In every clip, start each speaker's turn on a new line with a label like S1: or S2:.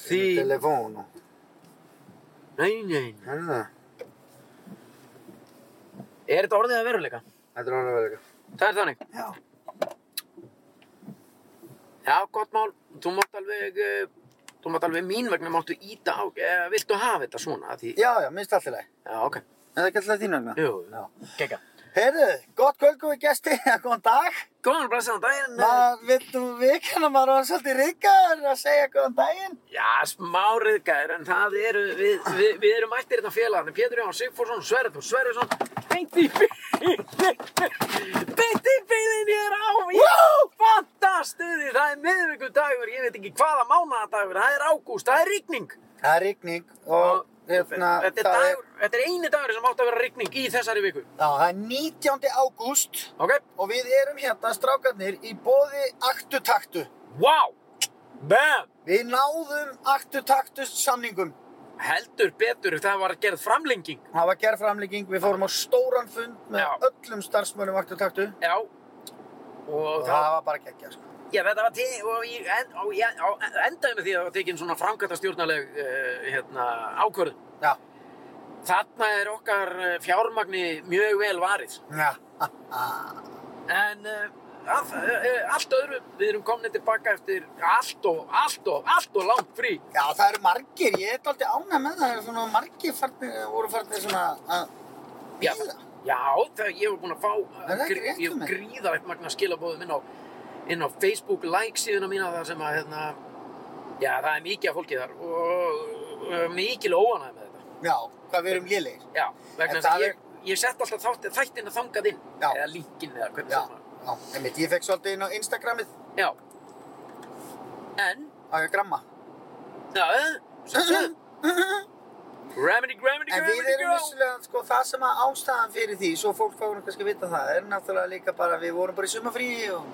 S1: sil
S2: Sì.
S1: telefono.
S2: Nein, nein.
S1: Það er það.
S2: Er þetta orðið að veruleika?
S1: Þetta er alveg verið.
S2: Það er þannig.
S1: Já.
S2: Já, gott mál. Þú mátt alveg, eh, þú mátt alveg mín vegna máttu íta á, eða viltu hafa þetta svona? af Því,
S1: Já, já, minnst allt í lagi.
S2: já, ok.
S1: En það er ekki alltaf þín vegna.
S2: Jú,
S1: Já.
S2: kekka.
S1: Heyrðu, gott kvöld góði gesti, góðan dag.
S2: Góðan blessaðan daginn.
S1: Maður, viltu vikana, maður var svolítið ríkaður að segja góðan daginn.
S2: Já, smáriðgæðir, en það eru, við, við, við erum mættir þetta félagarnir. Pétur Jón Sigfúrsson, Sverður Sverðursson, beint í bílinn, beint í bílinn ég er á í fantastuði. Það er miðvíkudagur, ég veit ekki hvaða mánadagur, það er ágúst, það er rigning.
S1: Það er rigning og hérna,
S2: þetta, er
S1: það
S2: dagur, þetta er eini dagur sem átt að vera rigning í þessari viku.
S1: Já, það er 19. ágúst
S2: Ok?
S1: og við erum hérna strákarnir í bóði aktutaktu.
S2: Wow! Bam!
S1: Við náðum aktutaktu samningum.
S2: Heldur betur, það var gerð framlenging.
S1: Það var gerð framlegging, við fórum á stóran fund með
S2: Já.
S1: öllum starfsmönnum aktutaktu
S2: Já. Og,
S1: og
S2: það
S1: það var bara geggja, sko.
S2: Já, þetta var te- og í, en, og í, á endaðinu því að það var tekin svona framkvæmtastjórnaleg uh, hérna, ákvörðun.
S1: Já,
S2: Þarna er okkar eh, fjármagni mjög vel varið.
S1: já, ha, ha.
S2: En uh, að, uh, allt öðru, við erum komin tilbaka eftir allt og, allt og, allt og langt frí.
S1: já, það eru margir, ég er aldrei ánæg með það, það eru svona margir farnir, voru farnir svona að
S2: Já.
S1: bíða.
S2: Já, það ég hef búin að fá eh,
S1: Er það ekki
S2: gr-
S1: rétt
S2: ég
S1: um
S2: hef
S1: mig?
S2: gríðalegt magna skilabóðum inn á, inn á Facebook like síðuna mína þar sem að, hérna, já, það er mikið af fólki þar og uh, mikil óanæð með þetta.
S1: Já, hvað við erum lélegir.
S2: Já, vegna
S1: En
S2: þess
S1: það er-
S2: að ég, ég sett alltaf þátt, þættina þangað inn
S1: Já.
S2: eða linkin eða hvernig
S1: Já,
S2: sem það
S1: já, einmitt, ég fekk svolítið inn á Instagramið
S2: Já En
S1: á ég að gramma.
S2: Já, sem sem Remedy, remedy,
S1: En við
S2: remedy,
S1: erum
S2: go
S1: vissulega, sko, það sem að ástæðan fyrir því, svo fólk fáum kannski að vita það, er náttúrulega líka bara, við vorum bara í sumafríi og...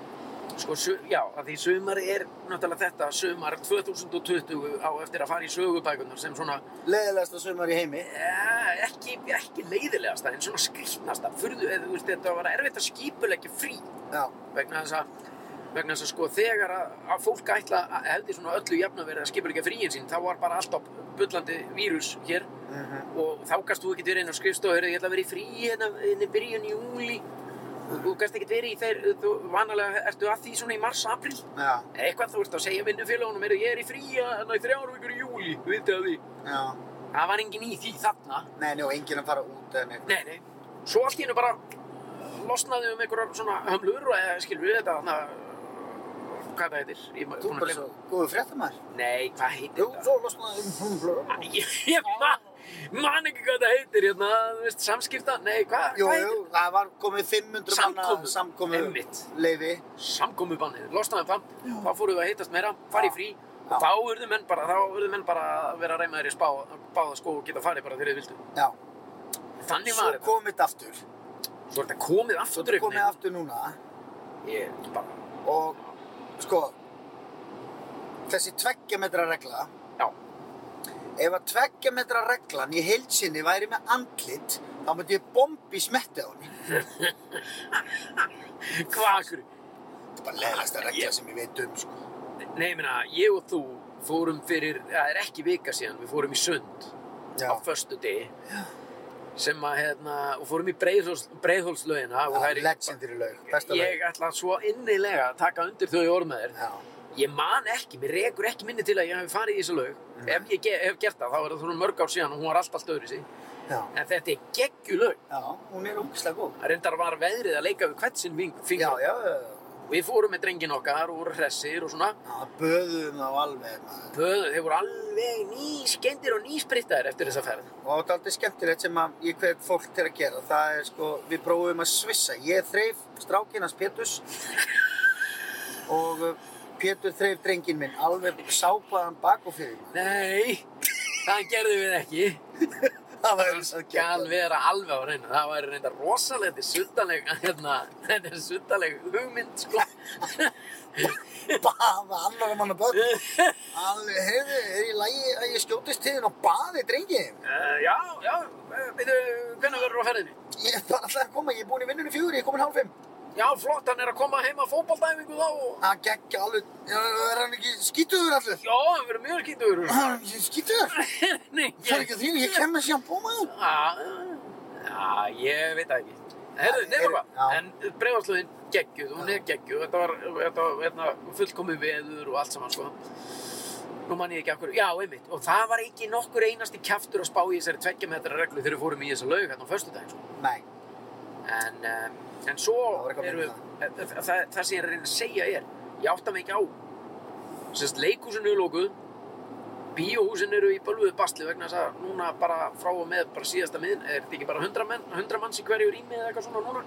S2: Sko, su, já, að því sumar er náttúrulega þetta sumar 2020 á eftir að fara í sögubækunar sem svona
S1: Leðilegasta sumar í heimi.
S2: eh, ekki, ekki leiðilegasta en svona skrýtnasta furðu eða þú veist þetta var erfitt að skipulegja frí
S1: Já,
S2: vegna þess að vegna þess að sko þegar að, að fólk ætla að hefði svona öllu jafna verið að skipa líka fríin sín þá var bara alltaf bullandi vírus hér
S1: mm
S2: og þá gast þú ekkert verið inn á skrifstofu ég ætla að vera í frí hérna hérna í byrjun júli og þú gast ekkert verið í þeir þú vanalega ertu að því svona í mars, april
S1: já,
S2: eitthvað þú ert að segja vinnufélagunum er ég er í frí hérna í þrjár vikur í júli vitið að því
S1: já.
S2: það var engin í því þarna
S1: Nei, nei, og enginn að fara út eða neitt.
S2: Nei, nei. Svo allt í hennu bara uh, losnaði um einhverjar svona hömlur og eða skilur við þetta hana, hvað það heitir? Ég, ma-
S1: Þú er
S2: búin að
S1: bara
S2: gleyma.
S1: svo góðu fréttamæður.
S2: Nei, hvað
S1: Jú,
S2: heitir þetta?
S1: svo losnaði um blöð.
S2: Ég, ég man, man ekki hvað það heitir, hérna, þú veist, samskipta, nei, hvað
S1: Jú,
S2: hvað
S1: jú, það var komið 500
S2: Samkomu.
S1: samkomu
S2: Einmitt.
S1: leifi.
S2: Samkomubannið, losnaði um það, þá fóruðu að heitast meira, fara í frí
S1: Já.
S2: og þá urðu menn bara, þá urðu menn bara að vera reymaður í spá, báða skó og geta farið bara þegar þið vildu.
S1: Já,
S2: Þannig
S1: svo
S2: var þetta.
S1: komið þetta aftur.
S2: Svo er þetta komið
S1: Svo
S2: aftur
S1: þetta komið
S2: einhvern
S1: aftur núna
S2: veginn. Ég bara,
S1: og sko, þessi tveggja metra regla,
S2: já,
S1: ef að tveggja metra reglan í heilsinni væri með andlit, þá myndi ég bombi smetti á henni.
S2: hvað akkur?
S1: Þetta er bara
S2: Ah,
S1: leðilegsta regla sem ég veit um, sko.
S2: Nei, ég meina, ég og þú fórum fyrir, það er ekki vika síðan, við fórum í sund
S1: Já,
S2: á föstu degi sem að, hérna, og fórum í breiðhóls, breiðhólslaugina og það er
S1: legendary lög, besta lög.
S2: Ég ætla svo innilega að taka undir þau orð með þér.
S1: Já,
S2: Ég man ekki, mér rekur ekki minni til að ég hef farið í þessu laug.
S1: Mm.
S2: Ef ég ge hef gert það, þá er það svona mörg ár síðan og hún var alltaf stöður í sig.
S1: já,
S2: En þetta er geggjulaug.
S1: já, hún er ógislega góð.
S2: Reyndar var veðrið að leika við hvert sinn
S1: Já,
S2: fingur.
S1: já, já,
S2: Við fórum með drengin okkar og voru hressir og svona.
S1: já, böðum þá alveg, maður.
S2: Böðu, þeir voru alveg nýskendir og nýsprittaðir eftir þessa ferð.
S1: Og það er aldrei skemmtilegt sem að ég hvet fólk til að gera. Það er sko, við prófum að svissa. Ég þreif strákin hans Péturs og uh, Pétur þreif drengin minn. Alveg sápaðan bak og fyrir mig.
S2: Nei, það gerðum við ekki.
S1: Það var
S2: Það skal vera alveg á reynu. Það væri reynda rosalega, þetta er suttaleg, hérna, þetta er suttaleg hugmynd, sko.
S1: Baða annar manna börn. Alveg, heyrðu, er í lagi að ég skjótist til þín og baði drengin?
S2: Uh, já, já, veitu, hvernig verður á ferðinni?
S1: Ég er bara alltaf að koma, ég er búin í vinnunni fjögur, ég er komin hálf fimm.
S2: Já, flott, hann er að koma heima að fótballdæfingu þá og...
S1: Hann geggja alveg, er hann ekki skítuður allir?
S2: Já, hann verður mjög skýtuður.
S1: Hann er ekki skítuður?
S2: Nei,
S1: Ah. Það er ekki þín, ég kem með síðan bómaður.
S2: Já, já, ég veit það ekki. Herðu,
S1: Já,
S2: nefnum
S1: heyrðu,
S2: hvað,
S1: já.
S2: en bregðarslöðin geggjuð, hún er geggjuð, þetta var, þetta var hérna, fullkomið veður og allt saman, sko. Nú man ég ekki okkur, já, einmitt, og það var ekki nokkur einasti kjaftur að spá í þessari tveggja metra reglu þegar við fórum í þessa laug hérna á föstudaginn, sko.
S1: Nei,
S2: En, um, en svo
S1: Það var eitthvað
S2: erum við, e,
S1: með
S2: það, það, það sem ég er að reyna að segja er, ég átta mig ekki á, semst leikhúsinu er lókuð, bíóhúsin eru í bölvuðu basli vegna þess að núna bara frá og með bara síðasta miðin, er þetta ekki bara 100, menn, 100 manns í hverju rými eða eitthvað svona núna?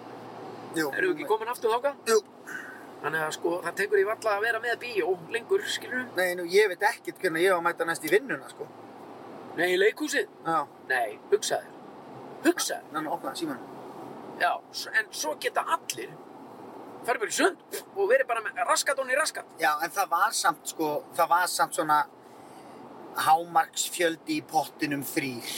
S1: jú.
S2: Eru við ekki komin aftur þáka?
S1: Jú.
S2: Þannig að sko, það tekur ég valla að vera með bíó lengur, skilur við?
S1: Nei, nú, ég veit ekkert hvernig ég var að mæta næst í vinnuna, sko.
S2: Nei, leikhúsið?
S1: Já,
S2: Nei, hugsaður. Hugsaður,
S1: þannig að opnaði símanum.
S2: já, s- en svo geta allir farið bara í sund og verið bara með raskat onni raskat.
S1: Já, en það var samt, sko, það var samt svona hámarksfjöldi í pottinum þrýr.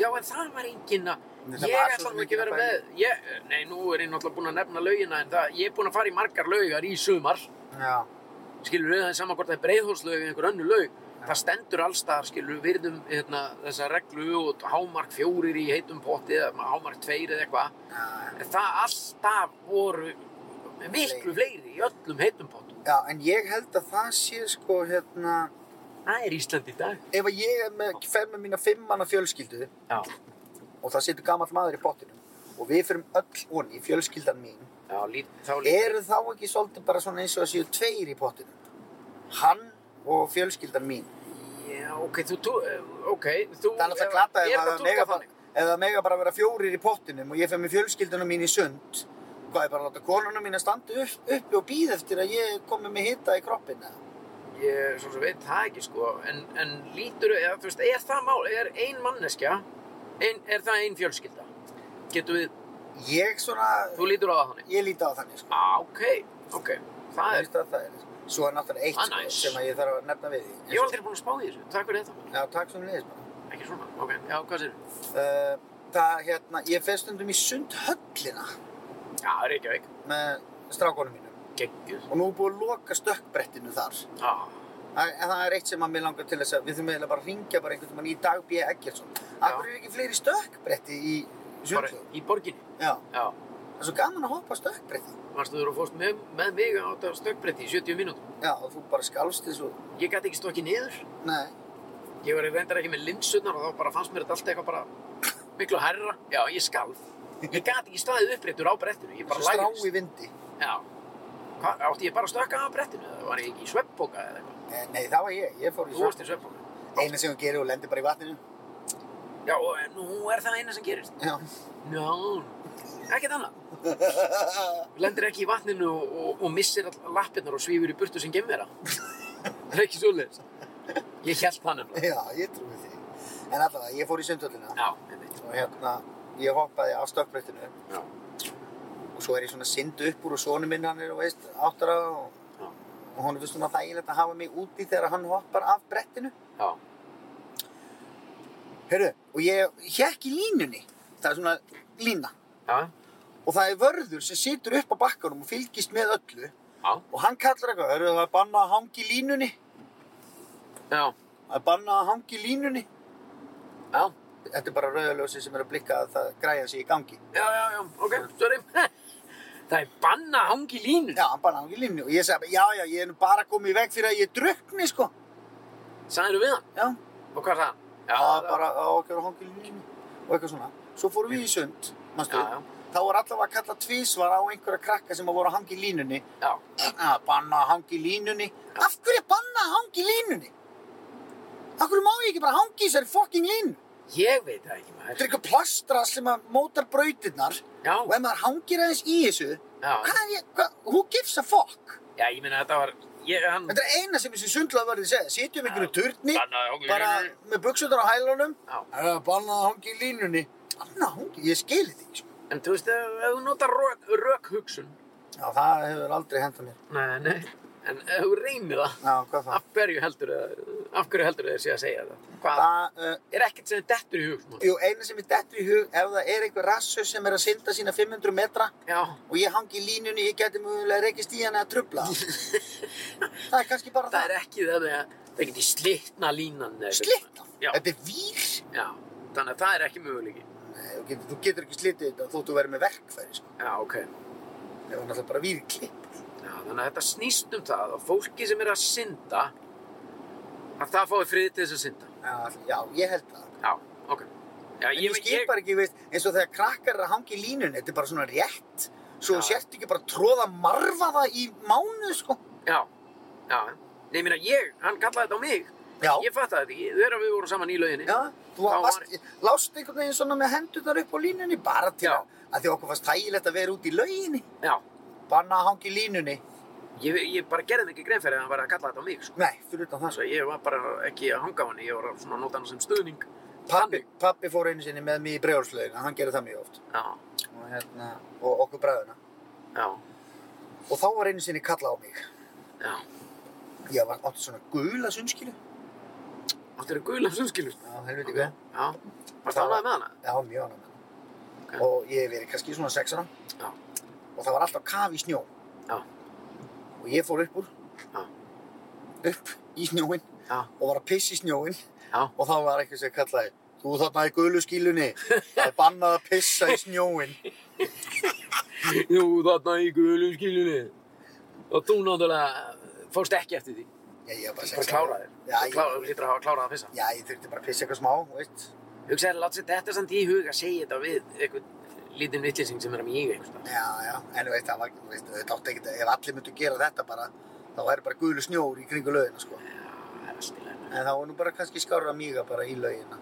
S2: Já, en það var enginn að...
S1: Nei, það
S2: Ég
S1: var svo
S2: ætla
S1: sem
S2: nú ekki
S1: enginn
S2: að vera
S1: að
S2: með... Ég, nei, nú er ég náttúrulega búinn að nefna laugina, en það, ég er búinn að fara í margar laugar í sumar.
S1: Já,
S2: Skilur við það er sama hvort það er breiðhólslaug eða einhver önnu laug. Það stendur allstaðar, skilur við, virðum hérna, þessa reglu og hámark fjórir í heitum potti eða hámark tveir eða eitthvað.
S1: já,
S2: En Það alltaf voru miklu fleiri í öllum heitum pottum.
S1: já, en ég held að það sé, sko, hérna,
S2: Það er Ísland í dag.
S1: ef að ég er með, fer með mína fimmanna fjölskyldu
S2: Já,
S1: og það situr gamall maður í pottinum og við fyrum öll onni, fjölskyldan mín,
S2: já, lít, þá lít.
S1: eru þá ekki svolítið bara svona eins og það séu tveir í pottinum? Hann og fjölskyldan mín.
S2: Já, ok, þú, þú, ok, þú...
S1: Það er alltaf glata ef það mega, bara- ef það mega bara vera fjórir í pottinum og ég fer með fjölskyldunum mín í sund hvað er bara að láta konunum mín að standa upp, uppi og býða eftir að ég komi með hita í kroppina
S2: Ég svo sem veit það ekki sko, en, en lítur, eða, þú veist, er það mál, er ein manneskja, ein, er það ein fjölskylda? Getum við,
S1: ég svona,
S2: þú lítur á það þannig?
S1: ég líti á þannig sko.
S2: Á, ok, ok, það
S1: Ég
S2: er,
S1: veist að það er sko. svo er náttúrulega eitt
S2: Ah,
S1: sko,
S2: nice.
S1: sem að ég þarf að nefna við því
S2: ég var aldrei búin að spá í þessu, takk fyrir þetta,
S1: já, takk sem liðis bara.
S2: maður. ekki svona, ok, já, hvað sér?
S1: uh, það hérna, ég fer stundum í sundhöllina
S2: Já, Reykjavík,
S1: með strákonum mínum
S2: geggjur,
S1: og nú er búið að loka stökkbrettinu þar
S2: á,
S1: Það- En það er eitt sem að mér langar til þess að við þurfum eiginlega bara að ringja bara einhvern veginn í dag B. Eggertsson. Akkur eru ekki fleiri stökkbretti í
S2: bara
S1: sundlögum?
S2: í borginni,
S1: Já,
S2: já,
S1: það er svo gaman að hoppa á stökkbretti.
S2: varstu þú að fórst með, með mig á þetta stökkbretti í 70 mínútum,
S1: Já, og þú bara skalfst þessu.
S2: ég gæti ekki stokkið niður,
S1: Nei,
S2: ég var reyndar ekki með linsunar og þá bara fannst mér þetta allt eitthvað bara miklu herra, já ég skalf ég gat ekki staðið uppréttur á brettinu ég bara
S1: þessu strá
S2: lægist
S1: í vindi.
S2: já. Hva, átti ég bara að stökka á brettinu eða var ég ekki í sveppbóka eða eitthvað
S1: Eh, Nei, það var ég. Ég fór í
S2: þú
S1: svona.
S2: varst í sveppbóka
S1: Eina sem hún gerir og lendir bara í vatninu.
S2: já og eh, nú er það eina sem gerist
S1: Já.
S2: já, ekkert annað lendir ekki í vatninu og, og, og missir all lappirnar og svífur í burtu sem gemvera það er ekki svoleiðis ég held það nefnilega
S1: Já, ég trúi því. En allavega, ég fór í sundhöllina
S2: já, einmitt.
S1: og hérna, ég hoppaði á stökkbrettinu
S2: já,
S1: og svo er ég svona syndu upp úr og sonu minn hann er, og veist, áttara og,
S2: já,
S1: og hún er svona þægilegt að hafa mig úti þegar hann hoppar af brettinu.
S2: já.
S1: Hörru, og ég hjekk í línunni. Það er svona lína.
S2: já.
S1: Og það er vörður sem situr upp á bakkanum og fylgist með öllu.
S2: já.
S1: Og hann kallar eitthvað, hörru, það er bannað að hangi í línunni.
S2: já.
S1: Það er bannað að hangi í línunni.
S2: já.
S1: Þetta er bara rauðaljósi sem er að blikka að það græja sig í gangi.
S2: Já, já, já, ok, sorry. Það er banna að hangi línu.
S1: Já, hann bannað að hangi í línunni. Og ég sagði, bara, já, já, ég er nú bara komið í veg fyrir að ég drukni, sko.
S2: Sæðir við hann?
S1: Já,
S2: Og hvað er það? Já,
S1: það er bara á okkur að hangi í línunni. Og eitthvað svona. Svo fórum við í sund, mannstu.
S2: Já, já.
S1: Þá var allavega að kalla tvísvar á einhverja krakka sem að voru að hangi í línunni.
S2: Já,
S1: að banna að hangi í línunni af hverju að banna að hangi í línunni af hverju má ég ekki bara hangi í þessari fucking línu
S2: ég veit það ekki
S1: þetta er
S2: maður.
S1: eitthvað plastra sem að mótar brautirnar
S2: Já,
S1: og ef maður hangir aðeins í þessu
S2: já,
S1: hvað er ég, hvað, who gives a fuck
S2: já, ég meina þetta var, ég, hann,
S1: þetta er eina sem þessi sundlaðverði segja sitjum ykkur í turni
S2: banna að hangi
S1: bara
S2: línu.
S1: með buksundar á hælunum
S2: Já.
S1: Eh, banna að hangi í línunni banna að hangi, ég skil þetta ekki sko.
S2: En þú veist, ef ef þú notar rök, rök hugsun.
S1: já, það hefur aldrei hendað mér
S2: Nei, nei, En ef þú reynir það,
S1: Já, hvað þá?
S2: af hverju heldur það af hverju heldur það sé að segja það? Hvað?
S1: Það, uh,
S2: Er ekkert sem dettur í hug, svona.
S1: jú, eina sem er dettur í hug, ef það er einhver rassu sem er að synda sína 500 metra
S2: Já,
S1: og ég hangi í línunni, ég geti mögulega rekist í hana að trubla. það er kannski bara
S2: það
S1: það.
S2: er ekki þannig að það geti slitna línan eða eitthvað
S1: Slitt.
S2: svona. Já,
S1: Þetta er vír.
S2: já. Þannig að það er ekki möguleiki.
S1: Nei, þú getur, þú getur ekki slitið þetta þótt þú verður með verkfæri, sko.
S2: Já, ok.
S1: Það var náttúrulega bara vírklipp.
S2: Já, þannig að þetta snýst um það að fólki sem er að synda að það fái frið til þess að synda.
S1: Já, já, ég held það.
S2: Já, ok. Já,
S1: En ég skil bara ekki, veist, eins og þegar krakkar eru að hangi í línunni, þetta er bara svona rétt. Svo
S2: Já.
S1: sért ekki bara tróða marfa það í mánu, sko.
S2: Já, já. Nei, ég meina, ég, hann kallaði þetta á mig.
S1: Já.
S2: Ég fattaði þetta ekki, þegar við vorum saman í lauginni.
S1: Já, þú
S2: Þá
S1: varst, lást einhvern veginn svona með hendurnar upp á línunni bara til
S2: Já.
S1: að, að því okkur fannst þægilegt að vera út í lauginni.
S2: Já.
S1: Banna að hangi í línunni.
S2: Ég, ég bara gerði mig ekki grein fyrir að hann var að kalla þetta á mig, sko.
S1: Nei, fyrir utan það.
S2: Þannig að ég var bara ekki að hanga á hann, ég var svona að nota hann sem stuðning.
S1: Pappi, pappi fór einu sinni með mig í bregðarslaugina, hann gerði það mjög oft.
S2: Já,
S1: Og, hérna, og okkur bræðuna.
S2: já,
S1: Og þá var einu sinni kallað á mig.
S2: já.
S1: Ég var átti svona gula sunnskilu.
S2: Áttu eru gula sumskilur.
S1: Já, helviti hvað.
S2: Já. Varst það alveg með hana?
S1: Já, mjög annar með.
S2: Ok.
S1: Og ég hef verið kannski svona sexana.
S2: Já.
S1: Og það var alltaf kaf í snjó.
S2: Já.
S1: Og ég fór upp úr.
S2: Já.
S1: Upp í snjóin
S2: Já,
S1: og var að pissa í snjóin.
S2: já.
S1: Og þá var eitthvað sem kallaði, þú þarna í gulu skilunni, það er bannað að pissa í snjóin.
S2: Jú, þarna í gulum skiljunni. Og þú náttúrulega fórst ekki eftir því.
S1: Já, ég var bara
S2: Þú bara
S1: sexana.
S2: kláraði.
S1: Já,
S2: Þú
S1: ég-
S2: klá- þú hlýtur að hafa klárað að fyrsta.
S1: Já, ég þurfti bara að pissa eitthvað smá, veist.
S2: Hugsaði, látt sér þetta samt í hug að segja þetta við einhvern lítinn vittlising sem er að mjög einhvers staðar.
S1: Já, já, en þú veist, það var, þú veist, þetta átti ekkert, ef allir myndu gera þetta bara, þá væri bara gulu snjór í kringu lögina, sko.
S2: Já, það er allt í lagi.
S1: En þá er nú bara kannski skárra míga bara í lögina.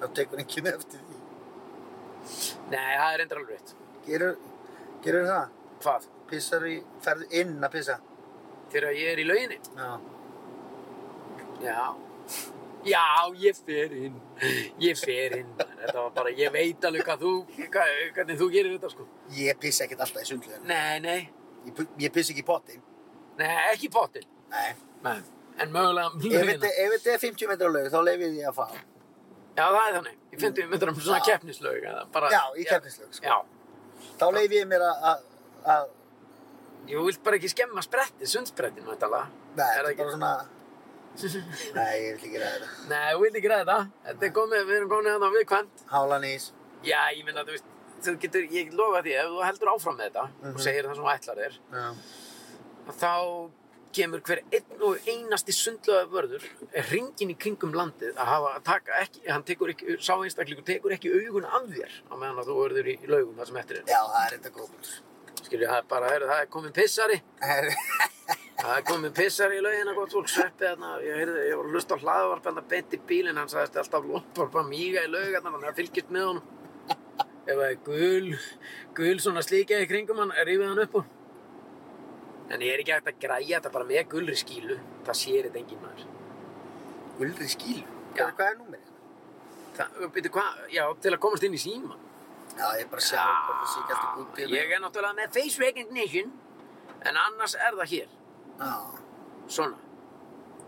S1: Þá tekur ekki með eftir því.
S2: Nei, það er endur alveg rétt.
S1: Gerur, gerur það?
S2: Hvað?
S1: Pissar í, ferðu inn að pissa?
S2: Þegar ég er í lauginni?
S1: Já.
S2: Já. Já, ég fer inn. Ég fer inn. Þetta var bara, ég veit alveg hvað þú, hvað, hvernig þú gerir þetta, sko.
S1: Ég pissa ekkert alltaf í sundlöðinu.
S2: Nei, nei.
S1: Ég, pu- ég pissa ekki í pottin.
S2: Nei, ekki í pottin.
S1: Nei.
S2: Nei. En mögulega um
S1: Ef
S2: lauginna.
S1: þetta ef þetta er 50 metra lög, þá leif ég því að fá.
S2: Já, það er þannig. Ég finnst við myndum svona
S1: Já.
S2: keppnislaug. eða Bara,
S1: Já, í keppnislaug, sko.
S2: Já.
S1: Þá leif ég mér að, að- að,
S2: Ég vilt bara ekki skemma spretti, sundsprettinu, þetta
S1: nei, þetta
S2: það
S1: er bara svona, nei, ég vil ekki ræða þetta.
S2: Nei, þú vilt ekki ræða þetta. Þetta er komið, við erum komið hann á viðkvæmt.
S1: Hálan ís.
S2: Já, ég minna, þú veist, þú getur, ég get lofa því, ef þú heldur áfram með þetta
S1: Mhm.
S2: og segir það sem þú ætlar þér,
S1: Já.
S2: þá kemur hver einn og einasti sundlöða vörður ringin í kringum landið að hafa að taka ekki, hann tekur ekki, sá einstaklingur tekur ekki augun af þér á meðan að þú verður í laugum það sem eftir er.
S1: Já, það er þetta góðbúls.
S2: Skilju, það er bara, heyrðu, það er komin pissari, það er komin pissari í laugina, gott fólk, sveppi þarna, ég heyrði, ég var að hlusta á hlaðvarp hann að beti bílinn, hann sagðist alltaf lopar bara míga í laugarnar, þannig að fylgist með honum. Ef það er gul, gul svona slíkja í kringum hann, rífið hann upp úr. En ég er ekki hægt að græja þetta bara með gulri skílu, það sér þetta enginn maður.
S1: Guldri skíl.
S2: Já.
S1: Hvað er númerið?
S2: Það, byrju, hvað, já, til að komast inn í síma.
S1: Já, ég bara sjá, bara sé ekki alltaf gútið.
S2: ég er náttúrulega með face recognition, en annars er það hér.
S1: Já.
S2: svona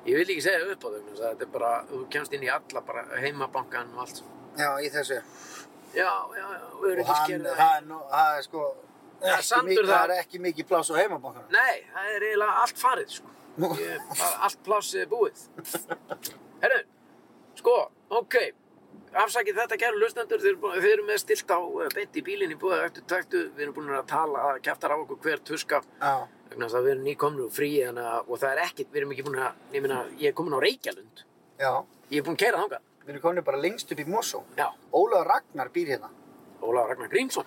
S2: ég vil ekki segja upp á þau þetta er bara, þú kemst inn í alla bara heimabankan og allt svona.
S1: Já, í þessu.
S2: já, já, já,
S1: Og hann,
S2: öryggiskerða
S1: hann, nú- það er sko,
S2: Það er
S1: ekki
S2: sandur
S1: mikið,
S2: þar.
S1: það er ekki mikið pláss á heimabankanum.
S2: nei, það er eiginlega allt farið sko.
S1: Nú.
S2: ég, bara allt plássið er búið herru, sko ok, afsakið þetta kæru lustendur, þeir, eru búin- þeir eru með stilt á eh, beint í bílinn í búið eftir tæktu við erum búin að tala, að kæftar á okkur hver tuska
S1: Já,
S2: vegna þess að við erum nýkomnir og frí hana, og það er ekkit, við erum ekki búin að ég, meina, ég er komin á Reykjalund
S1: já.
S2: ég er búin að kæra þangað
S1: Við erum komin bara lengst upp í Mosó.
S2: já,
S1: Ólaður Ragnar býr hérna.
S2: Ólaf Ragnar Grímsson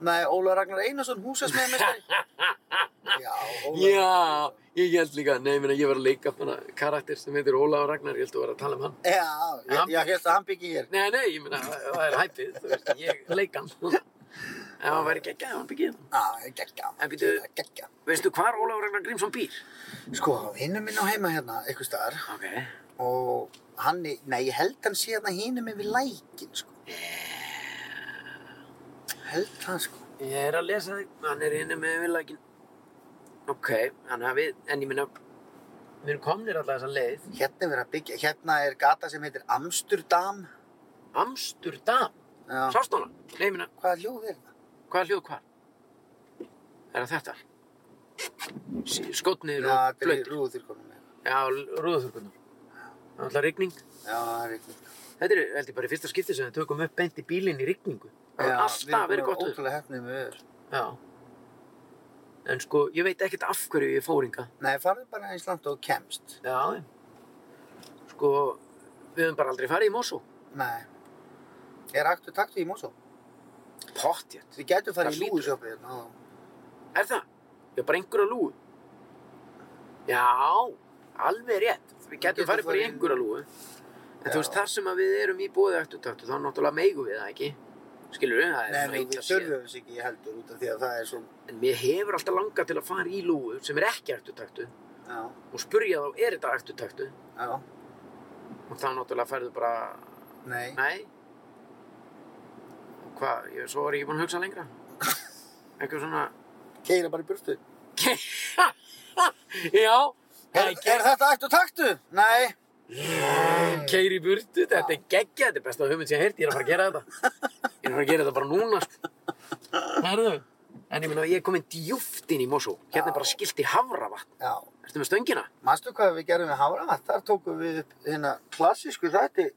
S1: Nei, Ólaður Ragnar Einarsson, húsasmiðamestari. já, Ólaður.
S2: Já, ég held líka, nei, minna, ég var að leika hana, karakter sem heitir Ólafur Ragnar, ég held að vera að tala um hann.
S1: Já,
S2: Já.
S1: ég, ég held að hann byggi hér.
S2: Nei, nei, ég minna, það er hæpið, þú veist, ég leika hann. En hann væri geggjað, hann hérna. byggir hann.
S1: Já, ég geggja.
S2: En býtu-
S1: Geggja.
S2: Veistu hvar Ólafur Ragnar Grímsson býr?
S1: Sko, hinnum minn á heima hérna, einhver staðar.
S2: Ok.
S1: Og hann, er- nei, ég held hann sé hérna hinnum minn við lækin, sko.
S2: Eh.
S1: Held það, sko.
S2: Ég er að lesa þig, hann er inni með vilækin. Ok, þannig að við, en ég minna, við erum komnir alltaf þessa leið.
S1: Hérna er verið að byggja, hérna er gata sem heitir Amsterdam.
S2: Amsturdam,
S1: Já.
S2: sástóna. Nei, ég minna,
S1: Hvaða hljóð hérna? er það?
S2: hvað er hljóð hvar? Er það þetta? Sí, Skotnir
S1: Já,
S2: og
S1: þetta er
S2: blöytur.
S1: rúðurkonum.
S2: Já, rúðaþurkunar. Það er alltaf rigning.
S1: Já, það er reynding.
S2: Þetta er, held ég, bara í fyrsta skipti sem við tökum upp beint í bílinn í rigningu.
S1: Já,
S2: Það er alltaf verið gott
S1: Við erum búin að vera
S2: við.
S1: ótrúlega hefnið með öður.
S2: Já. En sko, ég veit ekkert af hverju ég fór inga.
S1: Nei, farðu bara eins langt og þú kemst.
S2: Já. Sko, við höfum bara aldrei farið í Mosó.
S1: Nei. Er aktu taktu í Mosó?
S2: Pottjett.
S1: Þið gætu farið
S2: Það
S1: í
S2: hlýtur.
S1: lúðsjófið hérna. og-
S2: Er það? Ég er bara einhverja lúu. Já, alveg rétt. Við getum
S1: getum
S2: farið bara í
S1: farið-
S2: einhverja lúu. En
S1: Já.
S2: þú veist, þar sem að við erum í bóði eftirtaktu, þá náttúrulega meigum við það ekki. Skilur við, það er
S1: Nei,
S2: svona
S1: nei,
S2: eitt
S1: við
S2: að séð.
S1: þurfum þess ekki heldur út af því að það er svo...
S2: En mér hefur alltaf langað til að fara í lúu sem er ekki eftirtaktu
S1: Já,
S2: og spurja þá, er þetta eftirtaktu?
S1: já,
S2: Og þá náttúrulega færðu bara,
S1: nei.
S2: nei. Og hvað, ég, svo var ég ekki búinn að hugsa lengra. Eitthvað svona,
S1: Keira bara í burtu.
S2: já,
S1: Er, er þetta aktu taktu? Nei.
S2: Keir í burtu, þetta er geggja, þetta er besta hugmynd sem ég heyrti, ég er að fara að gera þetta. Ég er að fara að gera þetta bara núna. sko. Herðu, en ég meina, ég er komin djúft inn í Mosó. Hérna er bara skilt í Havravatn.
S1: Já.
S2: Ertu með stöngina?
S1: Manstu hvað við gerum við Háravatn? Þar tókum við upp hérna klassísku þætti.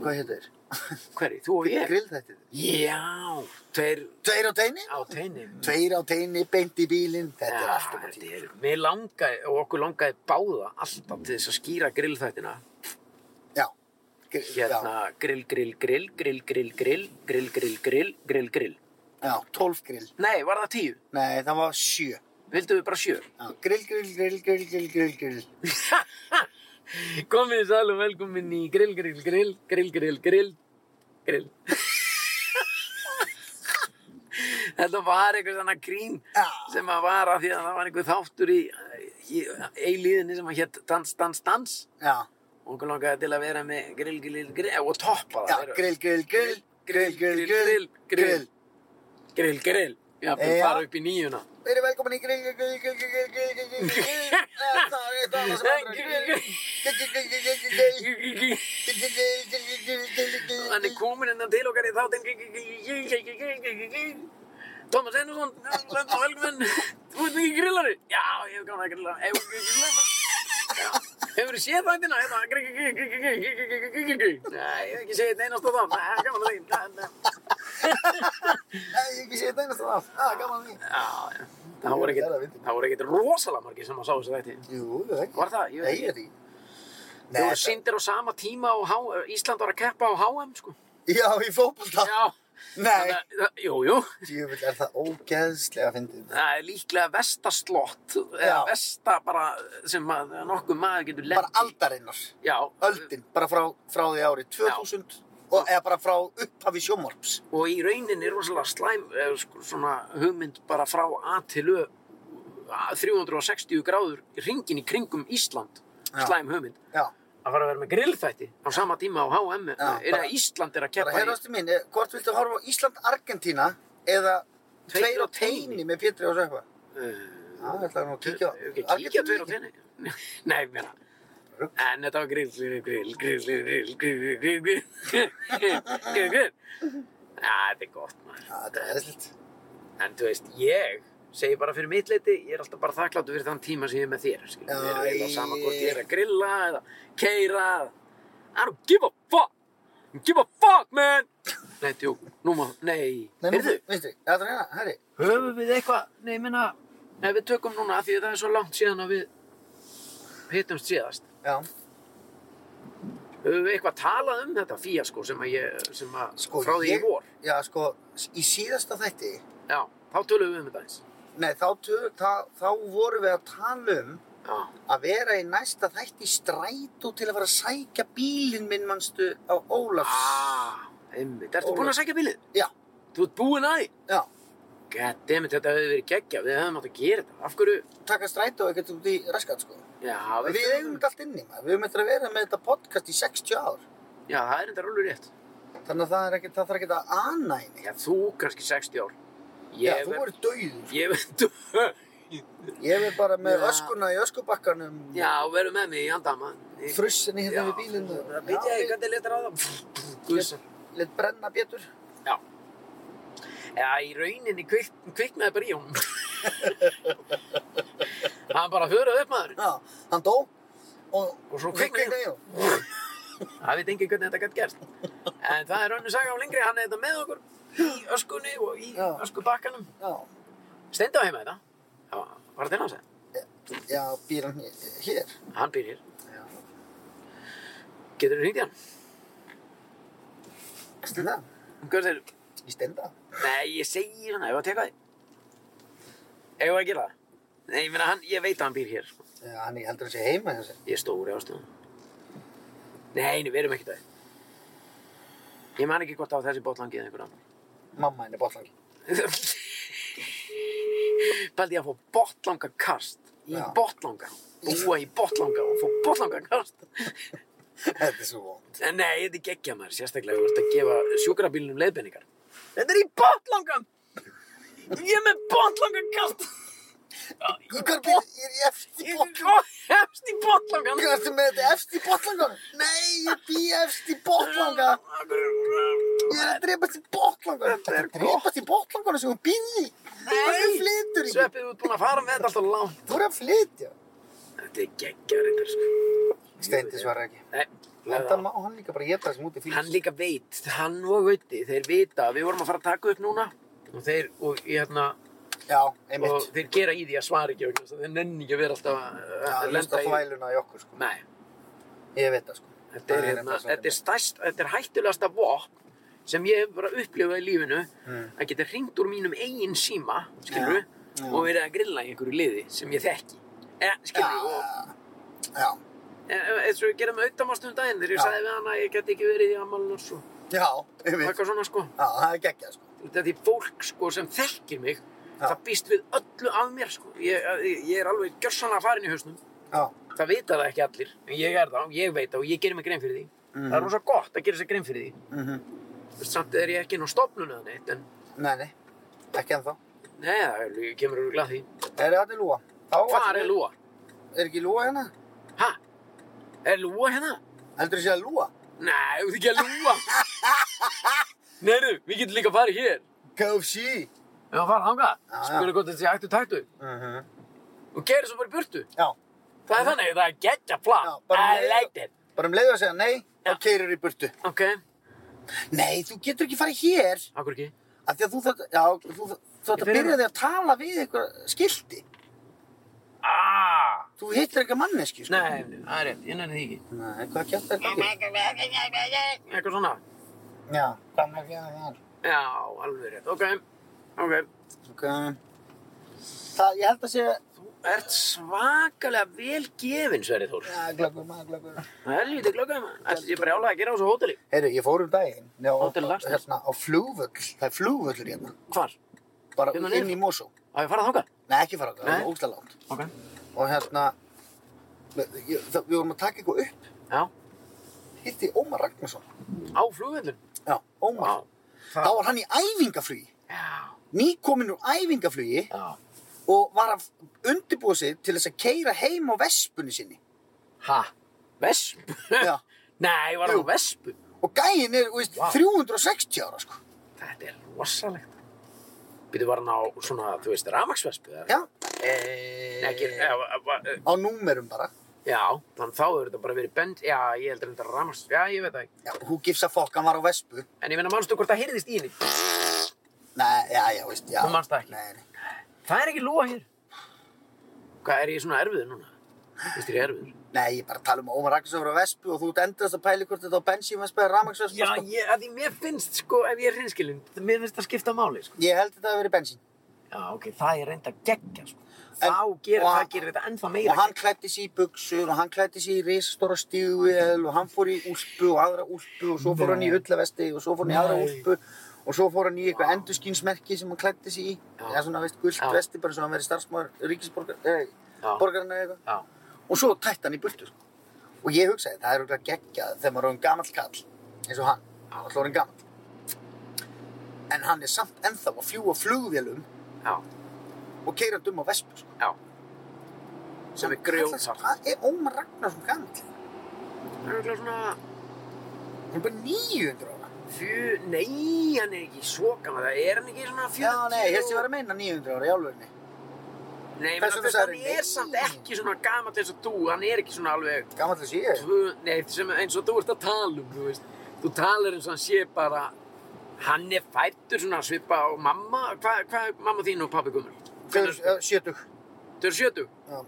S1: Hvað hétt þeir?
S2: Hverri, þú og ég?
S1: Grill þætti.
S2: Já, tveir
S1: Tveir á teini?
S2: á Ah, teini.
S1: Tveir á teini, beint í bílinn. Þetta er allt um að
S2: tíma. Mér langaði, og okkur langaði báða alltaf til þess að skýra grillþættina.
S1: Já. Grill- Já,
S2: Hérna, grill, grill, grill, grill, grill, grill, grill, grill, grill, grill, grill.
S1: já, tólf grill.
S2: Nei, var það tíu?
S1: Nei, það var sjö.
S2: Vildum við bara sjö?
S1: Já, grill, grill, grill, grill, grill, grill, grill.
S2: Komið þið sæl og velkomin í grill, grill, grill, grill, grill, grill, grill. Þetta var einhver svona grín
S1: Já.
S2: sem að var af því að það var einhver þáttur í, í eilíðinni sem að hétt dans, dans, dans
S1: Já,
S2: og okkur langaði til að vera með grill, grill, grill eh, og toppa
S1: já,
S2: það. Vera-
S1: grill, grill, grill, grill, grill, grill,
S2: grill,
S1: grill.
S2: grill, grill, grill. Já,
S1: Já.
S2: bara upp í nýjuna.
S1: Við erum velkomin í grill, grill, grill, grill, grill, grill, grill, grill, grill. Eh, Það er eitt annað sem andra. Grill, grill, grill, grill, grill, grill, grill. Grill, grill, grill, grill, grill, grill, grill.
S2: Hann er komin innan til okkar í þáttinn Thomas Einarsson, Lönn og Helgvinn Þú ert mikið grillari? Já, ég hef gaman að grilla Hefur þú grillað? Hefur þú séð þættina? Hérna, grill, grill, grill, grill, grill, grill, grill, grill, grill. Nei, ég hef ekki séð þetta einasta þá Nei, það er gaman að því
S1: Nei, ég hef ekki séð þetta einasta það. Á, gaman að því.
S2: Já, já. það voru
S1: Það er að
S2: ekkert
S1: fyndið.
S2: Það voru ekkert rosalega margir sem að sá þessu þætti
S1: Jú, það er ekki.
S2: Var það? Ég
S1: Nei,
S2: veit ekki.
S1: ég veit ekki. Nei,
S2: Þau voru
S1: þetta-
S2: sýndir á sama tíma og H Ísland var að keppa á HM, sko
S1: Já, í fótbolta.
S2: Já,
S1: Ah, Nei.
S2: þannig að- jú, jú
S1: Djöfull er það ógeðslega fyndið.
S2: Það er líklega vestastlott eða
S1: Já.
S2: vesta bara sem að nokkuð maður getur lent
S1: Bara
S2: í.
S1: aldarinnar.
S2: Já,
S1: Öldin, bara frá, frá því árið 2000 og eða bara frá upphafi sjómorps.
S2: og í rauninni er rosalega slæm eða sko, svona hugmynd bara frá A til Ö að 360 gráður í ringin í kringum Ísland
S1: Já.
S2: slæm hugmynd
S1: Já.
S2: að fara að vera með grillþætti á sama tíma á HM Já,
S1: Já,
S2: er
S1: bara-
S2: að Ísland er að
S1: Bara
S2: keppa í
S1: herrastu mín, eh, hvort viltu horfa á Ísland-Argentína eða
S2: Tveir
S1: Tveir
S2: á
S1: á teini
S2: teini
S1: með Pétri og Sökva? Já,
S2: uh,
S1: ég ætla nú að
S2: Ef
S1: kíkja á.
S2: ekki að kíkja tveir á tenni Nei, mér En þetta var grill, grill, grill, grill, grill, grill, grill, grill, grill, grill, grill, grill. Já, þetta er gott, maður.
S1: Já, þetta er eðlitt.
S2: En þú veist, ég segi bara fyrir mitt leiti, ég er alltaf bara þakkláttu fyrir þann tíma sem ég er með þér,
S1: Já,
S2: skilur. Við erum eiginlega
S1: ég-
S2: sama hvort ég er að grilla eða keira eða... I don't give a fuck! Give a fuck, man! Nei, tjú, nú má, nei.
S1: Nei,
S2: Heyrðu,
S1: Vinstri, þetta er hérna, herri.
S2: höfum við eitthvað, nei, ég minna, ef við tökum núna, af því að það er svo langt síðan að við hittumst síðast.
S1: Já,
S2: Höfum við eitthvað talað um þetta fíasko sem að ég, sem að
S1: sko,
S2: frá því í
S1: ég-
S2: vor?
S1: já, sko, í síðasta þætti,
S2: Já, þá tölum við um þetta eins.
S1: nei, þá, tö- þá, þá vorum við að tala um
S2: Já.
S1: að vera í næsta þætti í strætó til að fara að sækja bílinn minn, manstu, á Ólafs.
S2: Ah, einmitt. Ertu
S1: Ólöf.
S2: búinn að sækja bílið?
S1: Já,
S2: Þú ert búinn að því?
S1: já,
S2: Goddammit, þetta hefði verið geggja. Við hefðum átt að gera þetta. Af hverju?
S1: taka strætó ekkert út í raskat, sko.
S2: Já,
S1: Við
S2: veistu-
S1: eigum þetta allt inni, maður. Við höfum eftir að vera með þetta podcast í 60 ár.
S2: Já, það er þetta alveg rétt.
S1: Þannig að það, er ekki, það þarf ekki að anæni.
S2: Já, þú kannski 60 ár.
S1: Já,
S2: Ég
S1: þú
S2: verð-
S1: er dauður.
S2: Ég veit,
S1: Ég er bara með
S2: Já.
S1: öskuna í öskubakkanum,
S2: já, verður með mig í andama. Ég-
S1: frussinni
S2: Já,
S1: hérna við bílinn.
S2: Það veit ég ekki hvernig letar á það. Guðsa.
S1: Litt brenna betur.
S2: Já. Já, í rauninni kvik, kviknaði bara í honum. Hann bara höraði upp maður.
S1: Já, hann dó og,
S2: Og svo kviknaði.
S1: kviknaði ég.
S2: Það veit engin hvernig þetta gætt gerst. En það er önnur saga á lengri, hann er þetta með okkur í öskunni og í
S1: Já.
S2: öskubakkanum.
S1: Já,
S2: Steindi á heima þetta. Já, var þetta hans það?
S1: já, býr hann hér.
S2: Hann býr hér.
S1: Já.
S2: Getur þú hringt í hann?
S1: Stenda,
S2: Hvað segir þú?
S1: í stenda.
S2: Nei, ég segir hann, ef að teka þig. Ef að gera það? Nei, ég meina, hann, ég veit að hann býr hér. sko.
S1: Já, hann er heldur að sé heima þessi.
S2: Ég er stóri ástöðum. Nei, nei, við erum ekki það. Ég man ekki hvort á þessi botlangið einhver annar.
S1: Mamma henni botlangi.
S2: Bældi ég að fá botlanga kast í
S1: Já.
S2: botlanga. Búa í botlanga og fá botlanga kast.
S1: Þetta er svo vond.
S2: En nei, þetta er geggja maður, sérstaklega þú ert að gefa sjúkrabílunum leiðbenningar. Þetta er í botlangan! Ég er með botlanga kast!
S1: Hvar býr, ég er í efst í
S2: Ég
S1: botlangi.
S2: er hefst í botlangan!
S1: Hvað ertu með þetta efst í botlangan? Nei, ég bý efst í botlanga. Ég er að drepast í botlangan. Þetta er drepast í botlangan sem hún býði. Þú er að flytur í.
S2: Sveppið, þú ert búin að fara með þetta alltaf langt.
S1: Þú er að flytja.
S2: Þetta er geggja reyndar, sko.
S1: Steindi svarar ekki.
S2: Nei,
S1: Enda má hann líka bara geta þessum út í fíl.
S2: hann líka veit, hann og Gauti, þeir vita að við vorum að fara að taka upp núna og þeir, og ég hérna,
S1: Já,
S2: og
S1: einmitt.
S2: þeir gera í því að svara ekki vegna þess að þeir nenni ekki að vera alltaf að-
S1: Já, hlusta
S2: að lenda í.
S1: þvæluna í okkur, sko.
S2: Nei,
S1: Ég veit það, sko.
S2: þetta er
S1: Það
S2: hérna,
S1: nefnilega
S2: þetta er
S1: svolítið.
S2: stærst, þetta er hættulegasta vopn sem ég hef bara upplifað í lífinu
S1: Mm.
S2: að geta hringt úr mínum eigin síma,
S1: Já,
S2: skilur
S1: já.
S2: og verið að grilla í einhverju liði sem ég þekki. Eh, skilur og
S1: Já,
S2: eh, eins og ég gera með auðvitaðmástum daginn þegar ég
S1: Já.
S2: sagði við hana að ég geti ekki verið í ammálinu og svo,
S1: já, einmitt.
S2: eitthvað svona sko.
S1: Já, það er geggjað, sko.
S2: þetta er því fólk sko, sem þekkir mig
S1: Já.
S2: það býst við öllu af mér sko. ég, ég- ég er alveg gjörsanlega farin í hausnum
S1: Já,
S2: það vita það ekki allir en ég er það, og ég veit það og ég gerir mig grein fyrir því
S1: Mhm.
S2: það er rosa gott að gera sér grein fyrir því
S1: mhm.
S2: samt er ég ekki inn á stofnun eða neitt en
S1: Nei, nei, ekki ennþá.
S2: neða, ég kemur að glæð því
S1: Er það lúa? Þá
S2: hvað er lúa?
S1: Er ekki lúa hérna?
S2: ha? er lúa hérna?
S1: Heldur þú sé að lúa?
S2: nei, þú ert ekki að lúa neðu, við getum líka að fara hér
S1: KFC.
S2: ef að fara hanga,
S1: Já, já.
S2: spila gott að þetta sé hættu tættu
S1: Mhm.
S2: og gera svo bara í burtu
S1: Já,
S2: Það er þannig, það er geggja plan.
S1: Já, bara
S2: I
S1: leiða-
S2: like it.
S1: bara um leiðu að segja nei,
S2: Já.
S1: þá keirir í burtu.
S2: Ok,
S1: Nei, þú getur ekki farið hér.
S2: akkur ekki.
S1: Af því að þú þarft, já, þú þarft- þú þarft
S2: Ég
S1: að
S2: byrja
S1: byrja því að tala við eitthvað skildi.
S2: Ah,
S1: Þú hittir eitthvað manneski, sko.
S2: nei, það er rétt, ég nenni því ekki.
S1: Nei, hvað kjátt er gangi?
S2: Eitthvað svona.
S1: Já, hvað með fjöðum þér?
S2: Já, alveg rétt, ok. Ok,
S1: Ok. Það, ég held að segja,
S2: þú ert svakalega vel gefin, Sverri Þór.
S1: já, glöggur maður, glöggur.
S2: Helviti klokkaði maður. Ætli ég brjála að gera á þessu hóteli.
S1: Heyru, ég fór um daginn á,
S2: Hótel Laxness.
S1: hérna, á flugvöll, það er flugvöllur hérna,
S2: Hvar?
S1: bara
S2: Hérna
S1: inn
S2: niður?
S1: í Mosó.
S2: Á ég farað þangað?
S1: Nei, ekki fara okkar, það
S2: Nei.
S1: er ógstlega langt.
S2: Ok.
S1: Og hérna, við, ég, það, við vorum að taka eitthvað upp,
S2: Já,
S1: hitti Ómar Ragnarsson.
S2: á flugvöldun.
S1: Já, Ómar.
S2: Já.
S1: Þá var hann í æfingaflugi,
S2: Já.
S1: nýkominn úr æfingaflugi
S2: Já.
S1: og var að undirbúa sig til þess að keira heim á vespunni sinni.
S2: Ha? Vespu?
S1: Já.
S2: Nei, var
S1: Jú.
S2: það á vespu?
S1: Og gæinn er, þú veist,
S2: Vá.
S1: 360 ára, sko.
S2: Þetta er rosalegt. Býtu var hann á svona, þú veist, rafmaksvespu? eða?
S1: Já,
S2: Nei, ekki, eh, eða, eða, eða,
S1: á númerum bara.
S2: já, þannig þá hefur þetta bara verið bend, já, ég heldur þetta ramast, já, ég veit það ekki.
S1: Já, who gives a fuck, hann var á vespu.
S2: En ég meina, mannstu hvort það heyrðist í henni?
S1: Nei, já, já, veist, já.
S2: Þú manst það ekki?
S1: Nei, nei.
S2: Það er ekki lúa hér. Hvað, er ég svona erfiður núna? Vist ég er erfiður?
S1: Nei, ég er bara að tala um Ómar Ragnarsson frá Vespu og þú ert endast að pæli hvort þetta á bensínvespu eða ramagsvespu.
S2: Já, ég, að því mér finnst, sko, ef ég er hinskilinn, mér finnst það skipta máli, sko.
S1: Ég held þetta að verið bensín.
S2: Já, ok, það er reynda geggja, sko.
S1: En-
S2: Þá gerir,
S1: og-
S2: það gerir þetta ennþá meira.
S1: Og hann klætti sig í buksur og hann klætti sig í risastóra stíguvel og hann fór í úlpu og aðra úlpu og svo fór hann í hullavesti og svo fór hann í aðra
S2: Nei.
S1: úlpu og svo fór hann í eitthvað endurskýnsmerki sem hann klætti sig í.
S2: Já.
S1: Það er svona, veist, gult
S2: Já.
S1: vesti bara eins og hann verið starfsmáður
S2: Já.
S1: ríkisborgarna eh, eða eitthvað.
S2: Já,
S1: Og svo tætt hann í burtu. sko. Og ég hugsaði, það er auðvitað geggjað þegar maður er um gamall kall eins og hann. Hann var alltaf orðinn gamall. en hann er samt ennþá að fljúa flugvélum
S2: já,
S1: og keirandi um á vespu sko.
S2: já. Sem er grjótart.
S1: hvað er Ómar Ragnarsson gamall
S2: Það er eitthvað svona...
S1: hann er bara 900 ára
S2: Fjö... Nei, hann er ekki svo gammal. Er hann ekki svona 40?
S1: já nei, ég held ég var að meina 900 ára í álverðinni
S2: Nei, menn,
S1: Þess vegna
S2: þess,
S1: sagði
S2: hann
S1: ég,
S2: er
S1: nei.
S2: samt ekki svona gammal eins og þú. Hann er ekki svona alveg...
S1: gamall þessi ég
S2: Tvö... Nei, sem, eins og þú ert að tala um, þú veist. Þú talar eins og hann sé bara... Hann er fættur svona svipa á mamma. Hvað hva er mamma þín og pabbi komur?
S1: Hver- eh, 70
S2: Þau eru 70?
S1: Já.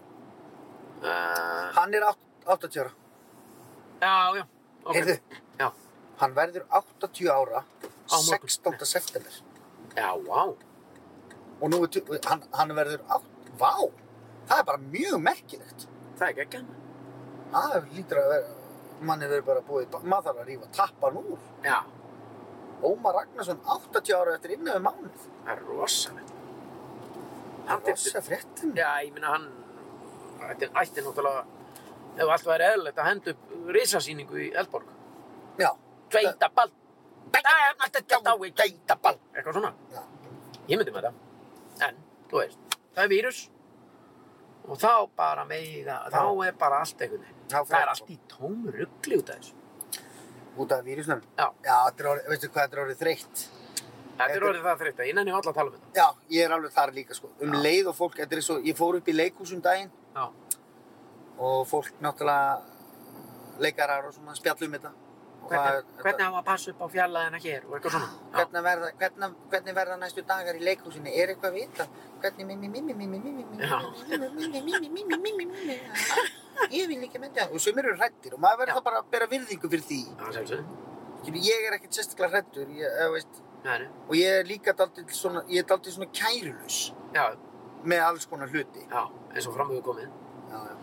S2: Uh,
S1: hann er átt- 80 ára
S2: já, já. ok.
S1: Heyrðu.
S2: Já,
S1: hann verður 80 ára
S2: morgun.
S1: 16. september
S2: já, vá.
S1: og nú er tu- hann, hann verður 8 vá, það er bara mjög merkilegt
S2: Það er ekki ekki.
S1: það lítur að vera manni verður bara búið, í ba- maður þarf að rífa tappan úr
S2: Já,
S1: Ómar Ragnarsson 80 ára eftir innan við mánuð
S2: það er rosalega. Hann er
S1: rosa fréttin
S2: Já, ég meina hann ætti, ætti náttúrulega ef allt væri eðlilegt að henda upp risasýningu í Eldborg
S1: já,
S2: Tveita ball Tveita ball Eitthvað svona
S1: Já.
S2: Ég myndi með það En, þú veist, það er vírus og þá bara meiga þá er bara allt einhvern veginn
S1: Þá fer
S2: það er
S1: allt.
S2: allt í tóm ruggli út af þessu
S1: út af vírusnum
S2: Já.
S1: já þetta er orðið, veistu hvað þetta er orðið þreytt
S2: Þetta er
S1: Þetta-
S2: orðið það þreytt að ég nenni alltaf að tala um þetta
S1: já, ég er alveg þar líka sko um
S2: Já.
S1: leið og fólk, þetta er svo, ég fór upp í leikhúsum daginn
S2: Já,
S1: og fólk náttúrulega leikarar og svona spjallum þetta Og
S2: hvernig,
S1: það-
S2: hvernig á að passa upp á fjallaðina hér og eitthvað svona Já,
S1: hvernig verða, hvernig, hvernig verða næstu dagar í leikhúsinu, er eitthvað vita hvernig mimi, mimi, mimi, mimi, mimi,
S2: Já.
S1: mimi, mimi, mimi, mimi, mimi, mimi, ég vil ekki mynda og sem eru hrættir og maður
S2: Já.
S1: verður það bara að bera virðingu fyrir því
S2: það sem sem
S1: Skilur, ég er ekkert sérstaklega hrættur ég, eh, veist,
S2: Nei, nei.
S1: og ég er líka daldið svona, ég er daldið svona kærulus
S2: Já,
S1: með alls konar hluti
S2: já, eins og framöðu komið
S1: já, já.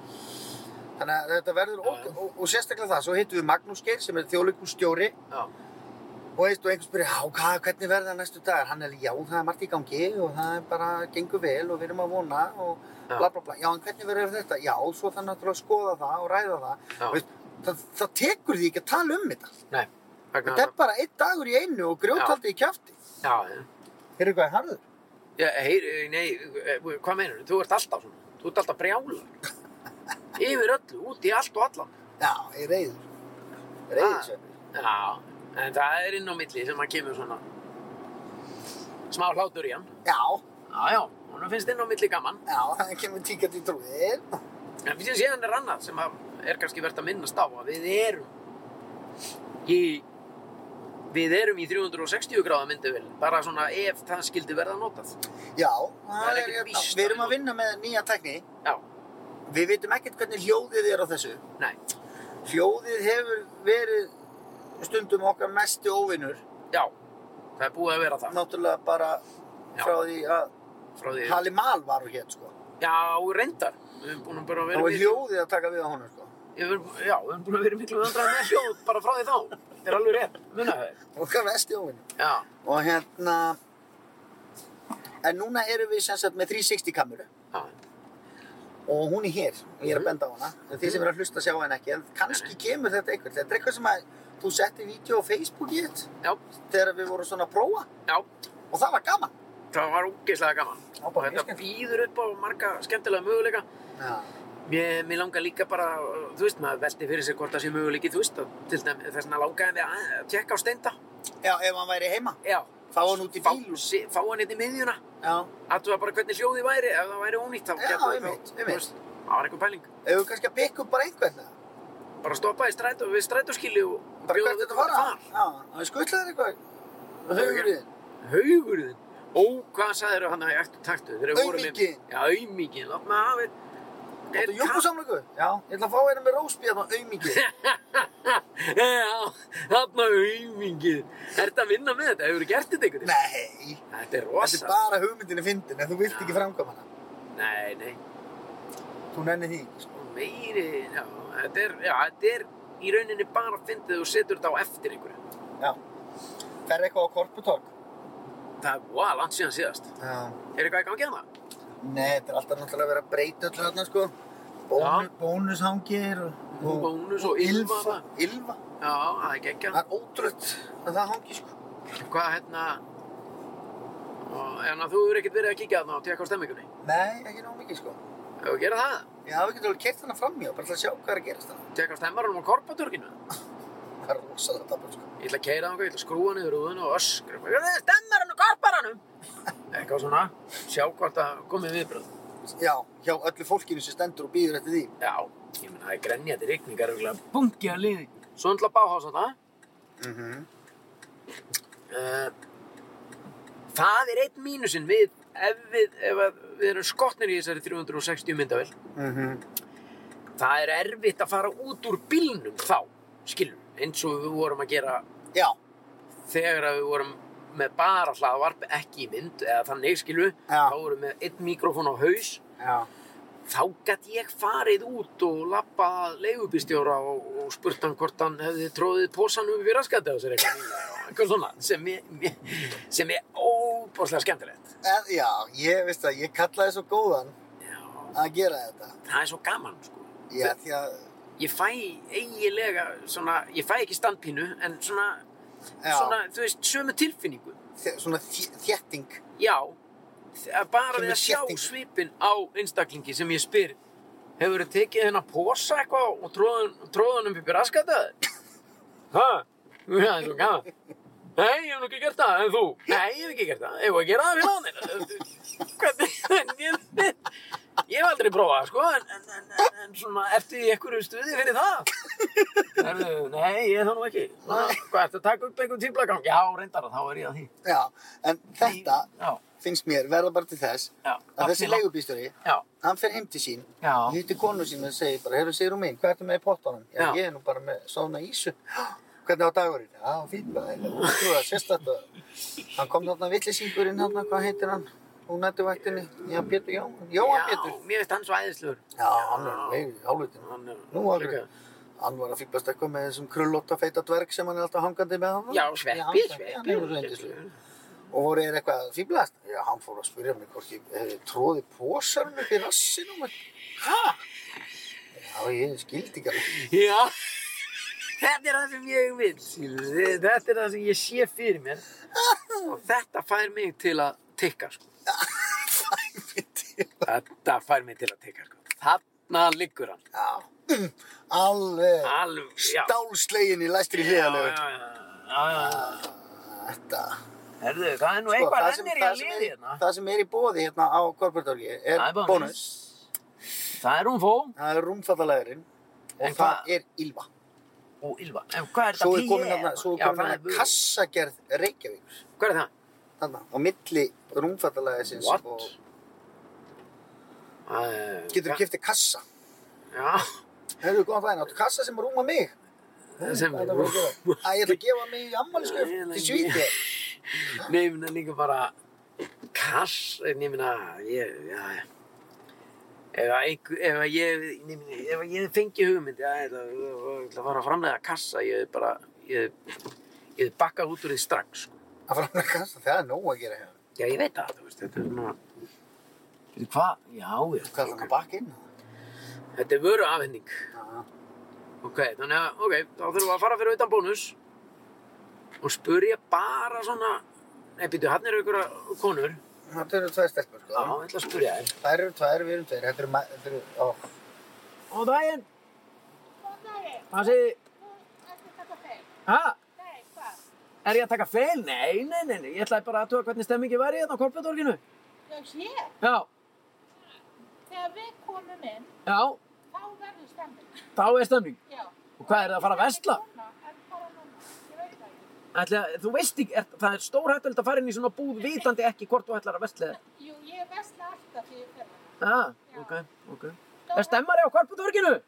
S1: þannig að þetta verður ok
S2: Já.
S1: og, og sérstaklega það, svo hittum við Magnús Geir sem er þjóðleikustjóri
S2: Já,
S1: og veist, og einhver spyrir, já, hvað, hvernig verða næstu dagar? Hann er, já, það er margt í gangi og það er bara, gengur vel og við erum að vona og
S2: Já.
S1: bla, bla, bla. Já, en hvernig verður þetta? Já, svo það er náttúrulega að skoða það og ræða það.
S2: já
S1: Veist, það, það tekur því ekki að tala um þetta.
S2: Nei, vegna
S1: Þetta er bara einn dagur í einu og grjóthaldi í kjafti.
S2: Já, já.
S1: Heyrðu hvað er harður?
S2: Já, heyri, nei, eh, hvað meinar Þú ert alltaf svona, þú ert alltaf brjálar Yfir öllu, út í allt og allan
S1: Já, ég reyður.
S2: Ah.
S1: Reyður sér.
S2: Já, en það er inn á milli sem að kemur svona Smá hlátur í hann
S1: Já,
S2: Já, já, hún finnst inn á milli gaman
S1: já, það kemur tíkat í trúðir.
S2: En fyrir síðan er annað sem að er kannski verðt að minnast á að við erum í Við erum í 360 gráða mynduvel, bara svona ef það skildi verða notað.
S1: Já,
S2: Það er
S1: það er
S2: ekkert
S1: hérna.
S2: víst
S1: Við
S2: að
S1: erum
S2: við-
S1: að vinna með nýja tekni.
S2: Já,
S1: Við vitum ekkert hvernig hljóðið er á þessu.
S2: nei,
S1: Hljóðið hefur verið stundum okkar mestu óvinnur.
S2: já, það er búið að vera það.
S1: Náttúrulega bara
S2: Já.
S1: frá því að
S2: Frá því
S1: Halli Mal var hér, sko.
S2: Já, reyndar. Við höfum búin að bara
S1: Það
S2: vera
S1: var hljóðið að taka við á honum, sko.
S2: Við höfum, já, við höfum búin að vera í miklu vandræðum með hljóð bara frá því þá. Þetta er alveg rétt. Muna það.
S1: Okkar mestu óvinnur.
S2: Já,
S1: Og hérna... En núna erum við sem sagt með 360 kameru
S2: já,
S1: og hún er hér og ég er að benda á hana. En þið sem eru að hlusta sjá henni ekki, en kannski kemur þetta eitthvað. Þetta er eitthvað sem að þú setti vídeo á Facebook í þitt
S2: já,
S1: þegar við vorum svona að prófa
S2: já.
S1: og það var gaman.
S2: Það var ógeðslega gaman.
S1: Já,
S2: Og
S1: bara mjög
S2: þetta
S1: skemmt.
S2: býður upp á marga skemmtilega möguleika.
S1: Já,
S2: Mér, mér langar líka bara, þú veist, maður veldi fyrir sig hvort það sé möguleiki, þú veist, að til dæmi, þess vegna langaði mig að að tjekka á steinda.
S1: Já ef hann væri heima.
S2: Já.
S1: Fá hann út í
S2: Fá,
S1: bíl og-
S2: sí, fá hann eitt í miðjuna.
S1: Já.
S2: Attu bara hvernig hljóði væri, ef það væri ónýtt, þá
S1: Já,
S2: gætu-
S1: einmitt, einmitt.
S2: þá- þú veist, Það var einhver pæling.
S1: Ef við kannski að pikka upp bara einhvern veginn.
S2: Bara stoppa í strætó, við strætóskili og
S1: Bara hvert
S2: þau
S1: þetta fara? Já, það er skuttlaður eitthvað. Hauðurinn.
S2: Haugurinn? Ó, hvað sagðir þau hann að ég ættu taktu? Þeir voru með-
S1: Auminginn.
S2: Já, aumingin, látt maður hafi...
S1: Þetta er júkusamlöku. Já, ég ætla að fá hérna með róspíðan og aumingi.
S2: Já, þarna aumingin. Er þetta að vinna með þetta? Hefur gert þetta einhvern veginn?
S1: Nei,
S2: Þetta er
S1: þetta
S2: rosa.
S1: er bara hugmyndin í fyndin en þú vilt
S2: Já.
S1: ekki framkvæma hana.
S2: Nei, nei,
S1: Þú nennir því. ekki, sko.
S2: meiri, já, þetta er, já, þetta er í rauninni bara fyndið og setur þetta á eftir einhverju.
S1: Já. Það er eitthvað á korputorg.
S2: Það er, wow, langt síðan síðast.
S1: Já.
S2: Er eitthvað í gangi hana?
S1: Nei, þetta er alltaf náttúrulega að vera að breyta öllu þarna sko. Bónu, bónushangir og... og-
S2: Bónus og
S1: Ylfa.
S2: Ylfa.
S1: Ylfa.
S2: Já, það er geggjað.
S1: Það er ótrútt að það hangi sko.
S2: Hvað, hérna, Og, en að þú hefur ekkert verið að kíkja þarna og tekka á stemmingunni.
S1: Nei, ekki nóg mikið sko.
S2: Ef við gera það,
S1: Ég hafa ekki alveg kert hana fram í og bara ætla að sjá hvað er að gerast hana.
S2: tekka á stemmarunum á korpaturkinu.
S1: Það er rosalega tapur sko.
S2: Ég ætla að keira þangað, ég ætla að skrúa niður rúðuna og öskra. um Það er stemmarunum og korparanum! Eitthvað svona, sjá hvort að komið viðbröð.
S1: Já, hjá öllu fólkinu sem stendur og býður eftir því.
S2: Já, ég meina, það er grenjandi rigningar, örugglega bunki að liði. Svo náttúrulega báhás þarna.
S1: Mm -hmm.
S2: Eh, það er einn mínusinn við ef við, ef að við erum skotnir í þessari 360 myndavel
S1: Mm
S2: það er erfitt að fara út úr bílnum þá, skilum eins og við vorum að gera
S1: Já,
S2: þegar að við vorum með bara hlaðvarp ekki í mynd, eða þannig skilu
S1: Já.
S2: þá vorum við með einn mikrofón á haus
S1: já.
S2: þá gætt ég farið út og lappað leigubílstjóra og, og spurt hann hvort hann hefði tróðið posan um raskatið á sér eitthvað, eitthvað svona sem er, sem er óbáslega skemmtilegt
S1: En, já, ég veist að ég kallaði svo góðan
S2: Já,
S1: að gera þetta.
S2: það er svo gaman sko.
S1: Já, því að,
S2: ég fæ eiginlega svona, ég fæ ekki standpínu en svona,
S1: já,
S2: svona þú veist, sömu tilfinningu
S1: þe- svona þj- þétting.
S2: já, þ- að bara
S1: Sömu
S2: við að sjá
S1: þéttingu.
S2: svipin á einstaklingi sem ég spyr hefur þið tekið hennar posa eitthvað og tróðan- tróðan um upp í raskataði hæ, það er svo gaman Nei, ég hef nú ekki gert það, en þú? Nei, ég hef ekki gert það. Ég hef að gera það fyrir hann. Hvernig? Ég hef aldrei prófað, sko, en, en, en, en, en svona eftir í einhverju stuði fyrir það. Herðu, nei, ég er það nú ekki. Ná, Hvað, ertu að taka upp einhver tíblagang? Já, reyndar, þá er ég að því.
S1: Já, en þetta
S2: Já,
S1: finnst mér verða bara til þess
S2: já.
S1: að þessi
S2: allir-
S1: leigubýstöri,
S2: Já,
S1: hann fer heim til sín,
S2: já.
S1: hittir konu sín og segir bara, hefur segir hún minn, hvað ertu með í pottunum? Já,
S2: Já.
S1: ég er nú bara með svona ísu. Hvernig á dagurinn? Já, fín maður, þú það, sérstætt að hann kom þarna villisingurinn hann, hvað heitir hann? Hún nættu vættinni, já, Pétur, já, Jóhann Pétur.
S2: Já, mér veist hann svo æðislegur.
S1: Já, hann er með í hálfutinu.
S2: Hann er-
S1: Nú var hann. Hann var að fýblast eitthvað með þessum krullótta feita dverg sem hann er alltaf hangandi með hann.
S2: Já, sveppi,
S1: Hann er reyndislu.
S2: sveppi.
S1: Og voru þeir eitthvað að fýblast? Já, hann fór að spyrja mig hvort ég hefði tróði pósarum upp í rassinum. Hæ? Já, ég skildi ekki alveg.
S2: Já, þetta er það sem ég vil, skilur. Þetta er það sem ég sé fyrir mér og þetta fær mig til að tikka, sko. Þetta fær mig til að tikka, sko. Þarna liggur hann.
S1: Já, mm, alveg
S2: Alveg, Ah, já.
S1: stálslegin í læstri
S2: Já, já,
S1: hliðalegu.
S2: já, já, já.
S1: Þetta.
S2: Herðu, það er nú
S1: Sko,
S2: eitthvað
S1: það sem-
S2: rennir í
S1: það
S2: að
S1: sem
S2: liði
S1: er-
S2: hérna.
S1: Það sem er í bóði hérna á Korportorgi er
S2: Það er bónus.
S1: bónus.
S2: Það er hún fó
S1: Það er rúmfattalæðurinn
S2: En
S1: og það
S2: hvað-
S1: er Ylva.
S2: og Ylva. En hvað er
S1: Svo
S2: þetta E
S1: er komin hérna, svo er
S2: Já,
S1: komin
S2: það er
S1: hérna
S2: vöru.
S1: kassagerð Reykjavík.
S2: Hvað er það?
S1: Þarna, á milli rúmfattalæðisins
S2: What?
S1: og
S2: Það er-
S1: getur kiftið kassa.
S2: Já,
S1: Hefur þú góðan daginn, áttu kassa sem rúma mig?
S2: sem
S1: Æ, ég ætla að gefa mig í ammælisköf
S2: Nei, nei,
S1: til svíti.
S2: Nei, ég minna líka bara kass, en ég minna, ég, já, já. Ef að einhver, ef að ég, ég minna, ef að ég fengi hugmynd, já, ég ætla ég ætla að fara að framlega kassa, ég hefði bara, ég, ég hefði bakkað út úr því strax, sko.
S1: Að framlega kassa, það er nóg að gera hérna.
S2: Já, ég veit það, þú veist, þetta er svona, veitir hvað, já, já,
S1: Hvað er þannig að baka inn?
S2: þetta er vöru afhending.
S1: Já.
S2: Ok, þannig að, ok, þá þurfum við að fara fyrir utan bónus og spurja bara svona, nei, býtu, hann eru ykkur konur,
S1: Það eru tvær stelpur,
S2: já,
S1: sko.
S2: ég ætla að spurja þér.
S1: Það eru tvær, við erum tveir. Þetta eru, ma- þetta eru, ó,
S2: Og daginn,
S3: Hvað er þið?
S2: hvað segir
S3: Nú ertu þetta þeim.
S2: Ha?
S3: Nei, hvað?
S2: Er ég að taka feil? Nei, nei, nei, nei. Ég ætlaði bara að tuga hvernig stemmingi væri hérna á korfetorginu.
S3: Já, hér.
S2: Já,
S3: Þegar við komum inn,
S2: já,
S3: þá verður stemming.
S2: þá er stemming.
S3: Já.
S2: Og hvað er það að fara að vesla?
S3: Ekki núna, en bara núna. Ég veit það ekki.
S2: Ætla, þú veist ekki, er, það er stórhættulegt að fara inn í svona búð vitandi ekki hvort þú ætlar að vesla þér.
S3: Jú, ég vesla alltaf því ég fer hana.
S2: Já, ok, ok. Er stemmari á korfetorginu?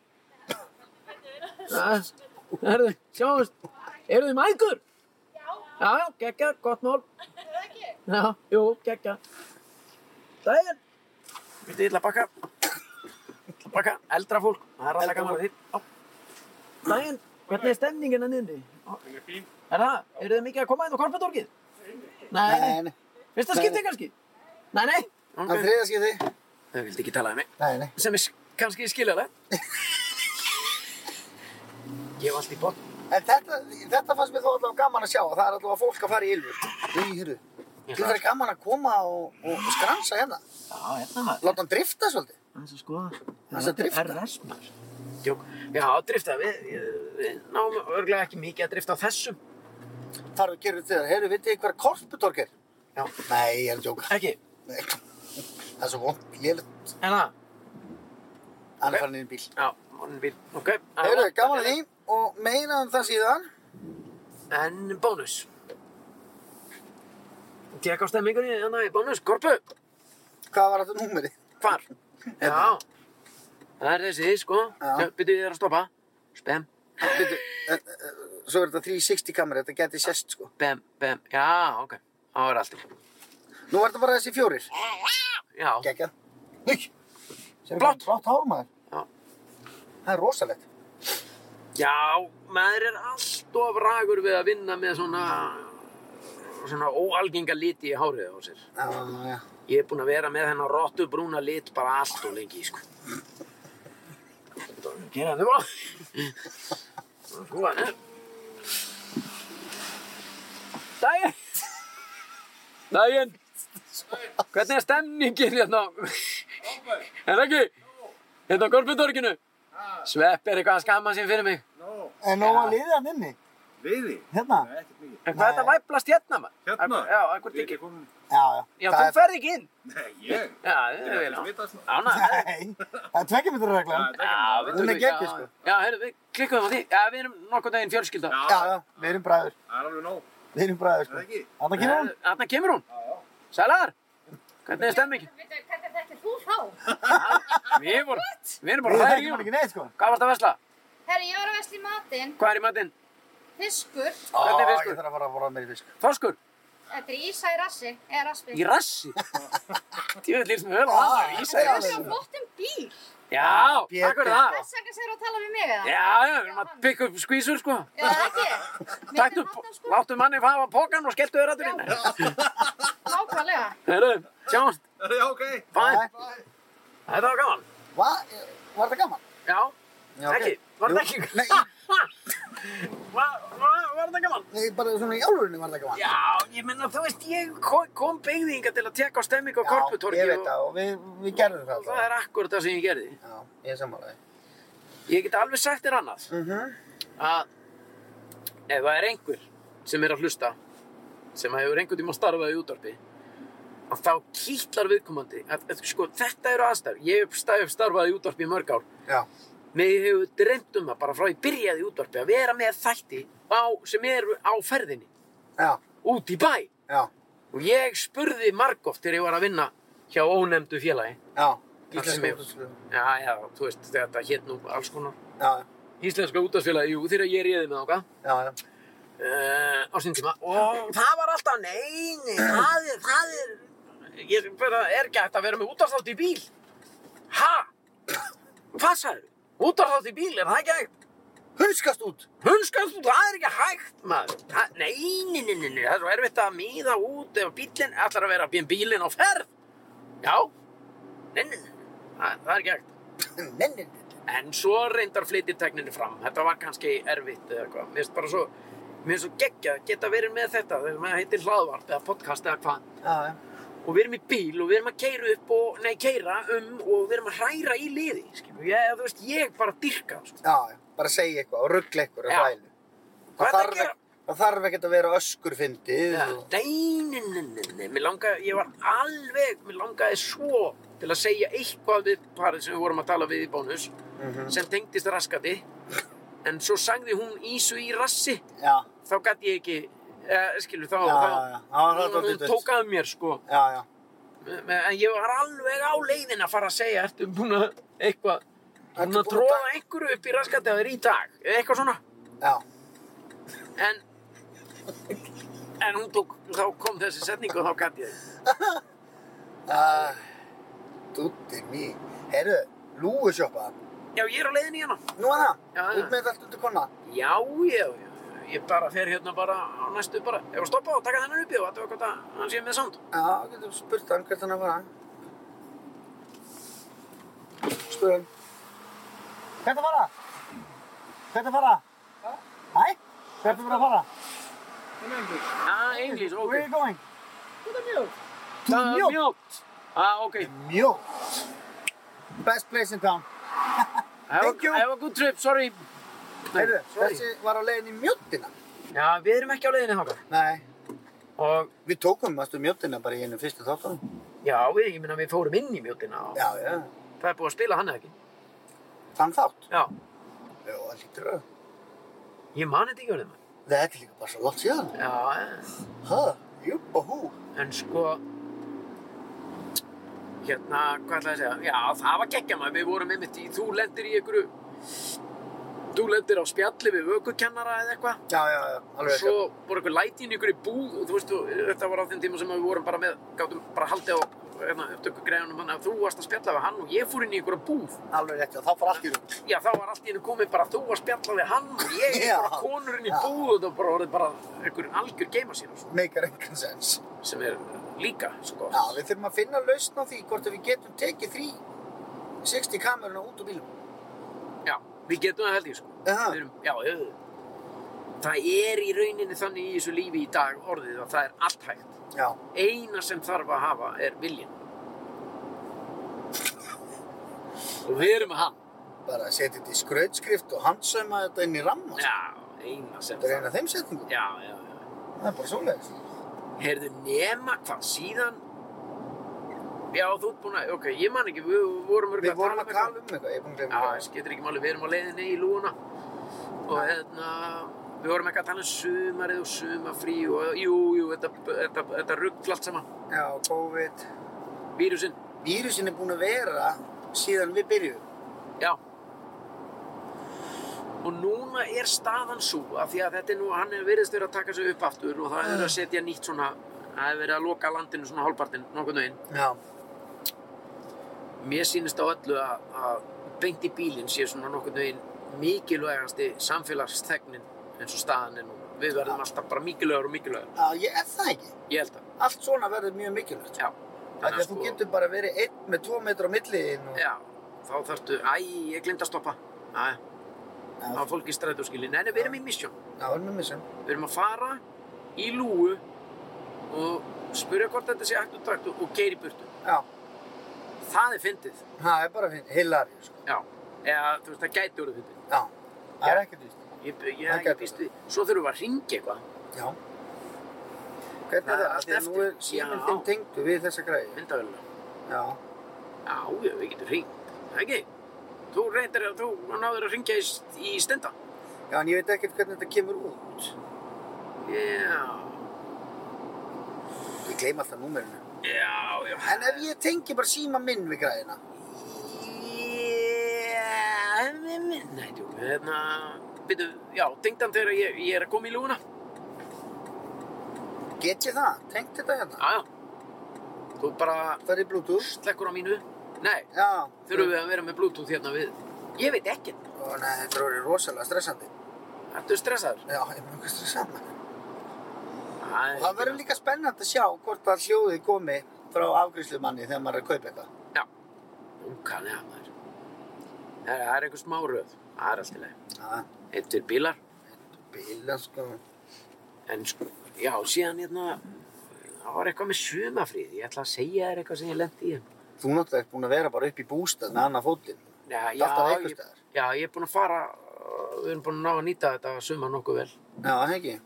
S3: hérna.
S2: Herðu, sjáumst. Eru þið mækur?
S3: Já,
S2: Já, já, geggja, gott mál.
S3: er það ekki?
S2: Já, jú, geggja. Dæin! Viltu illa bakka? Illa bakka, eldra fólk. Það er alltaf
S1: Eldra
S2: gaman að því. Dæin, hvernig er stemningin að niðri?
S4: Hún er fín.
S2: Er það, eru þið mikið að koma inn á korfatorkið? Nei, nei.
S1: nei, nei,
S2: Fyrsta
S1: Nei,
S2: skipti
S1: nei.
S2: kannski? Nei, nei.
S1: það er þriða skipti.
S2: Þau vildi ekki tala um mig.
S1: Nei, nei.
S2: Sem er s- kannski skiljalegt. Ég var allt í botn.
S1: En þetta, þetta fannst mér þó allavega gaman að sjá. Það er allavega fólk að fara í Ylfur. Í, hyrru,
S2: Ég
S1: Þú verður gaman að koma og, og skransa hérna.
S2: Já, hérna maður.
S1: Láta hann drifta svolítið.
S2: Það er að skoða.
S1: Aðeins að drifta.
S2: RS maður. Djók. Já, drifta. Við, við náum örglega ekki mikið að drifta á þessum.
S1: Þarf að gera þetta. Heyrðu, vitið þið hver korputorg er?
S2: Já.
S1: Nei, ég er að djóka.
S2: Ekki.
S1: Nei. Það er svo vond, lélut.
S2: En það.
S1: Hann
S2: Ok.
S1: er farin inn í bíl.
S2: Já, honum bíl. Ok.
S1: Heyrðu, gaman að því og meira um það síðan.
S2: En bónus. Tek á stemmingunni hérna í bónus. Korpu.
S1: Hvað var þetta númerið?
S2: Hvar? Já. Það er þessi, sko.
S1: Hérna. Já.
S2: Býtu þér að stoppa. Spem. Býtu.
S1: Eh, eh, Svo er þetta 360 kamera, þetta geti sest sko.
S2: Bem, bem. Já, ok. Það var allt í.
S1: Nú er þetta bara þessi fjórir.
S2: Já.
S1: Gekjað. Nú!
S2: Blátt.
S1: Blátt hár maður.
S2: Já.
S1: Það er rosalegt.
S2: Já, maður er alltof ragur við að vinna með svona svona óalgenga liti í hárið á sér.
S1: Já, já.
S2: Ég er búinn að vera með hennar rottubrúna lit bara allt og lengi, sko. Þetta hérna, var að Gera þetta bara. Sko, hann er. Dæin! Dæin! Hvernig er stemningin hérna? Er ekki? Hérna á Gorbutorkinu? Svepp er eitthvað að skamma sín fyrir mig.
S1: En nú var liðið hann inni.
S4: Veiði?
S1: Hérna?
S4: Nei, ekkert mikið.
S2: En hvað er þetta væplast hérna maður?
S4: Hérna?
S2: Akkur- Já, akkur ekki.
S4: Við ekki komin-
S1: Já, já.
S2: Já,
S1: Það
S2: þú
S1: er-
S2: ferð ekki inn.
S4: Nei, ég?
S2: Já, það
S4: Ég
S2: er
S4: er
S2: vel
S4: ekki smitað svona.
S2: Ána.
S1: Nei, það er tvekkjumittur reglan.
S4: Já,
S2: Já, við
S1: Hún er
S2: tökum-
S1: geggjuð,
S2: já,
S1: sko.
S2: Já, heyrðu, við klikkuðum á því. Já, við erum nokkuð daginn fjölskylda.
S4: Já,
S1: Já, já, við erum bræður.
S4: það er alveg nóg.
S1: Við erum bræður,
S4: Er
S1: sko.
S4: það ekki?
S1: Þannig kemur hún.
S2: Eh, Þarna kemur hún.
S4: Já, já.
S2: Sælar, hvernig er stemmingin?
S3: Veitu, Hvernig þekkir þú þá?
S2: Við vorum, við erum bara
S1: Við
S2: að hræða í
S1: þekkjum hann
S2: hún.
S1: ekki neitt, sko.
S2: Hvað varst að vesla?
S3: Herri, ég var að vesla í matinn.
S2: Hvað er í matinn?
S3: Fiskur. eh,
S2: Hvernig er
S1: Ó,
S2: fiskur?
S1: Ég þarf að fara að voru meiri fisk.
S2: Þorskur?
S3: Þetta er ísa í rassi. Eða raspi.
S2: Í rassi? Tíðan lýst með höfum að það, ísa í
S3: Þú
S2: rassi.
S3: ert á flottum bíl.
S2: Já,
S1: Pétur. sko.
S2: takk fyrir það.
S3: Þess vegna segir að tala við mig eða?
S2: Já, já, við erum að pikka upp skvísur, sko.
S3: Já, það ekki.
S2: Taktu, láttu manni fara á pokan og skelltu þér aðurinn.
S3: Nákvæmlega.
S2: Herru, sjáumst,
S4: Já, ok.
S2: bæ. Þetta var gaman.
S1: Hva? Var þetta gaman?
S2: Já,
S1: Já, ok.
S2: ekki, var þetta
S1: Jú.
S2: ekki?
S1: Nei,
S2: Var, var, var þetta gaman?
S1: nei, bara svona í álurinni var þetta gaman.
S2: Já, ég menna, þú veist, ég kom, kom beigðinga til að teka á stemming á korputorki
S1: ég veit það og við, við gerðum það.
S2: og það er akkurat það sem ég gerði.
S1: Já, ég er samanlega.
S2: Ég get alveg sagt þér annað
S1: Mm
S2: að ef það er einhver sem er að hlusta sem hefur einhvern tíma starfað í útvarpi að þá kýtlar viðkomandi að, að, sko, þetta eru aðstæður ég hef stæ- hef starfað í útvarpi í mörg ár
S1: Já,
S2: Mér hefur dreymt um það bara frá ég byrjaði í útvarpi að vera með þætti á, sem eru á ferðinni,
S1: já,
S2: út í bæ.
S1: já,
S2: Og ég spurði margóft þegar ég var að vinna hjá ónefndu félagi.
S1: já.
S2: Það sem ég- Já, já, þú veist, þetta hétt nú alls konar.
S1: Já,
S2: Íslenska útvarpsfélagi, jú, þegar ég reyði með okkar
S1: já, já.
S2: uh, á sín tíma. Og það var alltaf, nei, nei, það er, það er, ég bara er ekki hægt að vera með útvarpsþátt í bíl. Ha? Hvað sagður? Útvarpsþátt í bíl, er það ekki hægt?
S1: Hunskast út.
S2: Hunskast, það er ekki hægt maður. Það, nei, nei, nei, nei, nei, það er svo erfitt að miða út ef bílinn ætlar að vera bíl bílinn á ferð. Já, nei, nei, nei, það, það er ekki hægt.
S1: Mennin.
S2: En svo reyndar flytir tekninni fram. Þetta var kannski erfitt eða eitthvað. Mér finnst bara svo, mér finnst svo geggja að geta verið með þetta. Þegar maður heitir hlaðvarp eða podcast eða hvað.
S1: Já, já.
S2: Og við erum í bíl og við erum að keira upp og, nei, keira um og við erum að hræra í liði. Skilur, ég, þú veist, ég bara dyrka það, sko.
S1: Já, já. Bara segja eitthvað og ruggla eitthvað á
S2: Já.
S1: fælu. Það
S2: Hvað ertu að
S1: þarf,
S2: gera?
S1: ekki- það þarf ekkert að vera öskurfyndið.
S2: Já,
S1: og-
S2: Nei, nei, nei, nei, nei, mér langaði, ég var alveg, mér langaði svo til að segja eitthvað við parið sem við vorum að tala við í bónus
S1: Mhm.
S2: sem tengdist raskati en svo sagði hún Ísu í rassi
S1: Já,
S2: þá gæti ég ekki, eh, skilur, þá,
S1: Já,
S2: þá
S1: já, já. Já, það er
S2: hún,
S1: dálítið
S2: hún
S1: dautt.
S2: tók að mér, sko
S1: já, já.
S2: en ég var alveg á leiðin að fara að segja, ertu búin að eitthvað,
S1: Ertu
S2: búin
S1: búin
S2: að
S1: að
S2: tróða einhverju upp í raskati að þér í dag, eitthvað svona
S1: Já,
S2: en en hún tók, þá kom þessi setning og þá gæti ég
S1: já. Dútti mý. Herru, lúusjópa.
S2: Já, ég er á leiðin í hana.
S1: Nú er það.
S2: Já, já.
S1: Út með þetta allt undir konna.
S2: Já, já, já. Ég bara fer hérna bara á næstu bara. Ef að stoppa og taka þennan uppi og þetta var gott að hann sé með sound.
S1: Já, getur spurt hann hvert hann er að fara. Spur hann. Hvert að fara? Hvert að fara? Hæ? Hvert að fara að fara?
S2: Ah, English, ok.
S1: you going?
S3: Þú
S2: þetta mjótt?
S1: Þú
S2: Það er
S1: mjótt.
S2: mjótt. Ah, ok.
S1: Mjótt. Best place in town.
S2: Have
S1: Thank you.
S2: a, have a good trip, sorry. Nei,
S1: Heyrðu,
S2: sorry.
S1: þessi var á leiðin í mjóttina.
S2: Já, við erum ekki á leiðinni þákar.
S1: Nei,
S2: Og
S1: við tókum mastu mjóttina bara í einu fyrstu þáttunum.
S2: já, við, ég meina, við fórum inn í mjóttina og
S1: Já, já.
S2: það er búið að spila hann eða ekki.
S1: Þann þátt.
S2: Já,
S1: Já, það lítur að.
S2: ég man þetta ekki orðið maður.
S1: Það er líka bara svo langt síðan.
S2: Já, eh,
S1: Ha, júpa hú.
S2: en sko, hérna, hvað ætlaði að segja? Já, það var geggja maður, við vorum einmitt í, þú lendir í einhverju, þú lendir á spjalli við vökukennara eða eitthvað.
S1: Já, já, já, alveg
S2: Svo
S1: ekki.
S2: voru eitthvað læti inn í einhverju búð og þú veist, þú- þetta var á þeim tíma sem við vorum bara með, gáttum bara haldið á hérna, upptöku greiðunum þannig að þú varst að spjalla við hann og ég fór inn í einhverju búð.
S1: Alveg ekki, þá fór allt í rúm.
S2: Já, þá var allt í hennu komið bara þú að spjalla við hann og ég
S1: Já.
S2: bara konur inn í
S1: Já.
S2: búð og það bara orðið bara einhverjum algjör geima sín og svo,
S1: Meikar engan sens.
S2: sem er líka, sko.
S1: Já, við þurfum að finna lausn á því hvort að við getum tekið þrý 60 kameruna út úr bílum.
S2: Já, við getum það held ég, sko.
S1: Aha.
S2: Við erum, já, auðvitað. Það er í rauninni þannig í þessu lífi í dag orðið að það er allt hægt.
S1: Já,
S2: eina sem þarf að hafa er viljinn og við erum með hann
S1: bara setja þetta í skrautskrift og handsauma þetta inn í ramma. sko.
S2: já, eina sem
S1: Þetta er
S2: þarf
S1: eina af þeim setningum.
S2: já, já, já
S1: Það er bara svoleiðis.
S2: heyrðu nema hvað síðan já, þú ert búin að ok, ég man ekki, við vorum örugglega
S1: Við vorum að
S2: eitthvað.
S1: tala um eitthvað, ég er búinn að glemja
S2: já,
S1: hvað.
S2: það skiptir ekki máli, við erum á leiðinni í lúuna og hérna við vorum ekki að tala um sumarið og sumafrí og jú, jú, þetta, þetta, þetta ruggl allt saman,
S1: Já, COVID.
S2: vírusinn
S1: Vírusin er búinn að vera síðan við byrjuðum.
S2: Já. Og núna er staðan svo að því að þetta er nú, hann er veriðst verið að taka sig upp aftur og það er að setja nýtt svona, það er verið að loka landinu svona hálfpartinn, nokkurnu einn.
S1: Já.
S2: Mér sýnist á öllu að, að beint í bílinn sé svona nokkurnu einn mikilvægasti samfélagsþegnin eins og staðan er nú. Við verðum alltaf bara mikilvægur og mikilvægur,
S1: Já, ég er það ekki.
S2: ég held að.
S1: Allt svona verður mjög mikilvægt.
S2: Já. sko,
S1: Þannig að sko- þú getur bara verið einn með tvo metra á milliðin og...
S2: Já, þá þarftu, æ, ég glemt að stoppa. Æ, það
S1: Já,
S2: var fólk í strætóskilin. Nei, nei, við erum í misjón.
S1: já, erum við missum.
S2: Við erum að fara í lúu og spyrja hvort þetta sé hægt og takt og geir í burtu.
S1: Já,
S2: Það er fyndið.
S1: það er bara hilarið, sko.
S2: Já. Eða, þú veist, það gæti orðið fyndið.
S1: Já, það er ekkert víst.
S2: Ég, ég,
S1: Það
S2: ég,
S1: gæti
S2: ég býst við. Svo þurfum við að ringja eitthvað.
S1: Já. Hvernig
S2: Það
S1: það
S2: er
S1: er
S2: allt
S1: það? Þegar nú er
S2: eftir.
S1: síminn
S2: Já.
S1: þinn tengdu við þessa græði.
S2: Myndavelna.
S1: Já.
S2: Já, já, við getum ringt. Ekki? Þú reyndir að þú náður að ringja í, í stenda.
S1: Já, en ég veit ekkert hvernig þetta kemur út.
S2: Já.
S1: Ég gleyma alltaf númerinu.
S2: Já, já.
S1: En ef ég tengi bara síma minn við græðina?
S2: Já, nei, nei, nei, djúk. Hérna, byrju, já, tengdan þegar ég, ég er að koma í lúuna.
S1: Get ég það? Tengt þetta hérna?
S2: Já, já. Þú bara
S1: Það er í bluetooth.
S2: slekkur á mínu. Nei,
S1: Já.
S2: þurfum við að vera með bluetooth hérna við. Ég veit ekkert.
S1: Ó, nei, þetta er orðið rosalega stressandi.
S2: Ertu stressaður?
S1: Já, ég er mjög stressandi.
S2: Æ,
S1: Það verður líka spennandi að sjá hvort að hljóðið komi frá afgriðslumanni þegar maður er að kaupa eitthvað.
S2: Ungalega maður. Það er- það er einhver smá röð. Það er allt í lagi.
S1: Já,
S2: Eitt fyrir bílar.
S1: bíla sko.
S2: En sko, já, síðan hérna, það var eitthvað með sumafríð. Ég ætla að segja þér eitthvað sem ég lendi í. en-
S1: Þú náttúrulega ert búin að vera bara upp í bústað með annað fótinn.
S2: Já,
S1: er alltaf
S2: já,
S1: einhvers
S2: ég,
S1: staðar.
S2: já, ég er búinn að fara, uh, við erum búin að ná að nýta þetta suma nokkuð vel.
S1: Já, það ekki.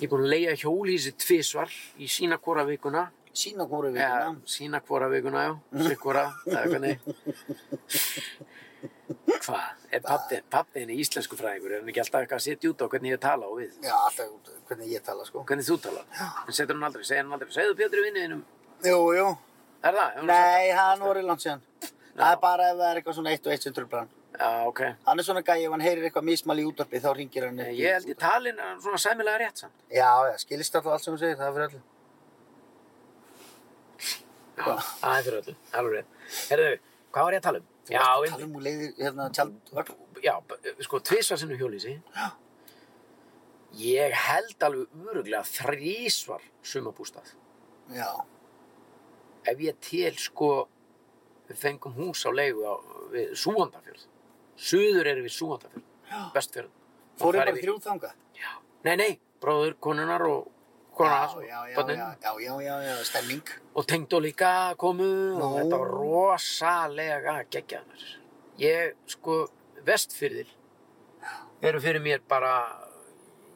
S2: Ég er búinn að leiga hjólhísi tvisvar í sína hvora vikuna.
S1: Sína góru við
S2: Já,
S1: hérna.
S2: sína hvora vikuna, já, sikkvora, eða hvernig. Hvað, er pappin, pappin er íslensku fræðingur, er hann ekki alltaf eitthvað að setja út á hvernig ég tala og við?
S1: Já, alltaf út hvernig ég tala sko.
S2: Hvernig þú tala? Hann setur hann aldrei, segir hann aldrei, segðu Pétur í vinniðinum,
S1: Jú, jú.
S2: er það? Hefur hann sagt
S1: Nei, það er nú orðið langt síðan. Það er bara ef það er eitthvað svona eitt og eitt sem trublar hann.
S2: það? Já, ok.
S1: Hann er svona gæi, ef hann heyrir eitthvað mismæli í útvarpi þá ringir hann
S2: Nei,
S1: upp í-
S2: Ég held ég talin er hann svona sæmilega rétt samt.
S1: Já, já, skilist alltaf allt sem hún segir, það er fyrir öllu.
S2: Já, það er fyrir öllu, alveg rétt. Herðu, hvað var ég að tala um? Já, einmitt.
S1: Talum úr leiðir, hérna, tjaldvagn.
S2: já, b- sko, tvisvar sinnum hjólísi. Ég held alveg öruglega þrísvar sumabústað.
S1: Já,
S2: Ef ég tel, sko, við fengum hús á leigu á, við Súandafjörð. Suður eru við Súandafjörð, Vestfjörð. Og
S1: fórum
S2: þar er
S1: bara
S2: við-
S1: þrjú þanga.
S2: Já. Nei, nei, bróður konunar og kona
S1: já,
S2: svo,
S1: já, já,
S2: börnin.
S1: já, já, já, já, já, stemming.
S2: og tengdó líka komu og
S1: Nú.
S2: þetta var rosalega geggjaðar. Ég, sko, vestfyrðir eru fyrir mér bara,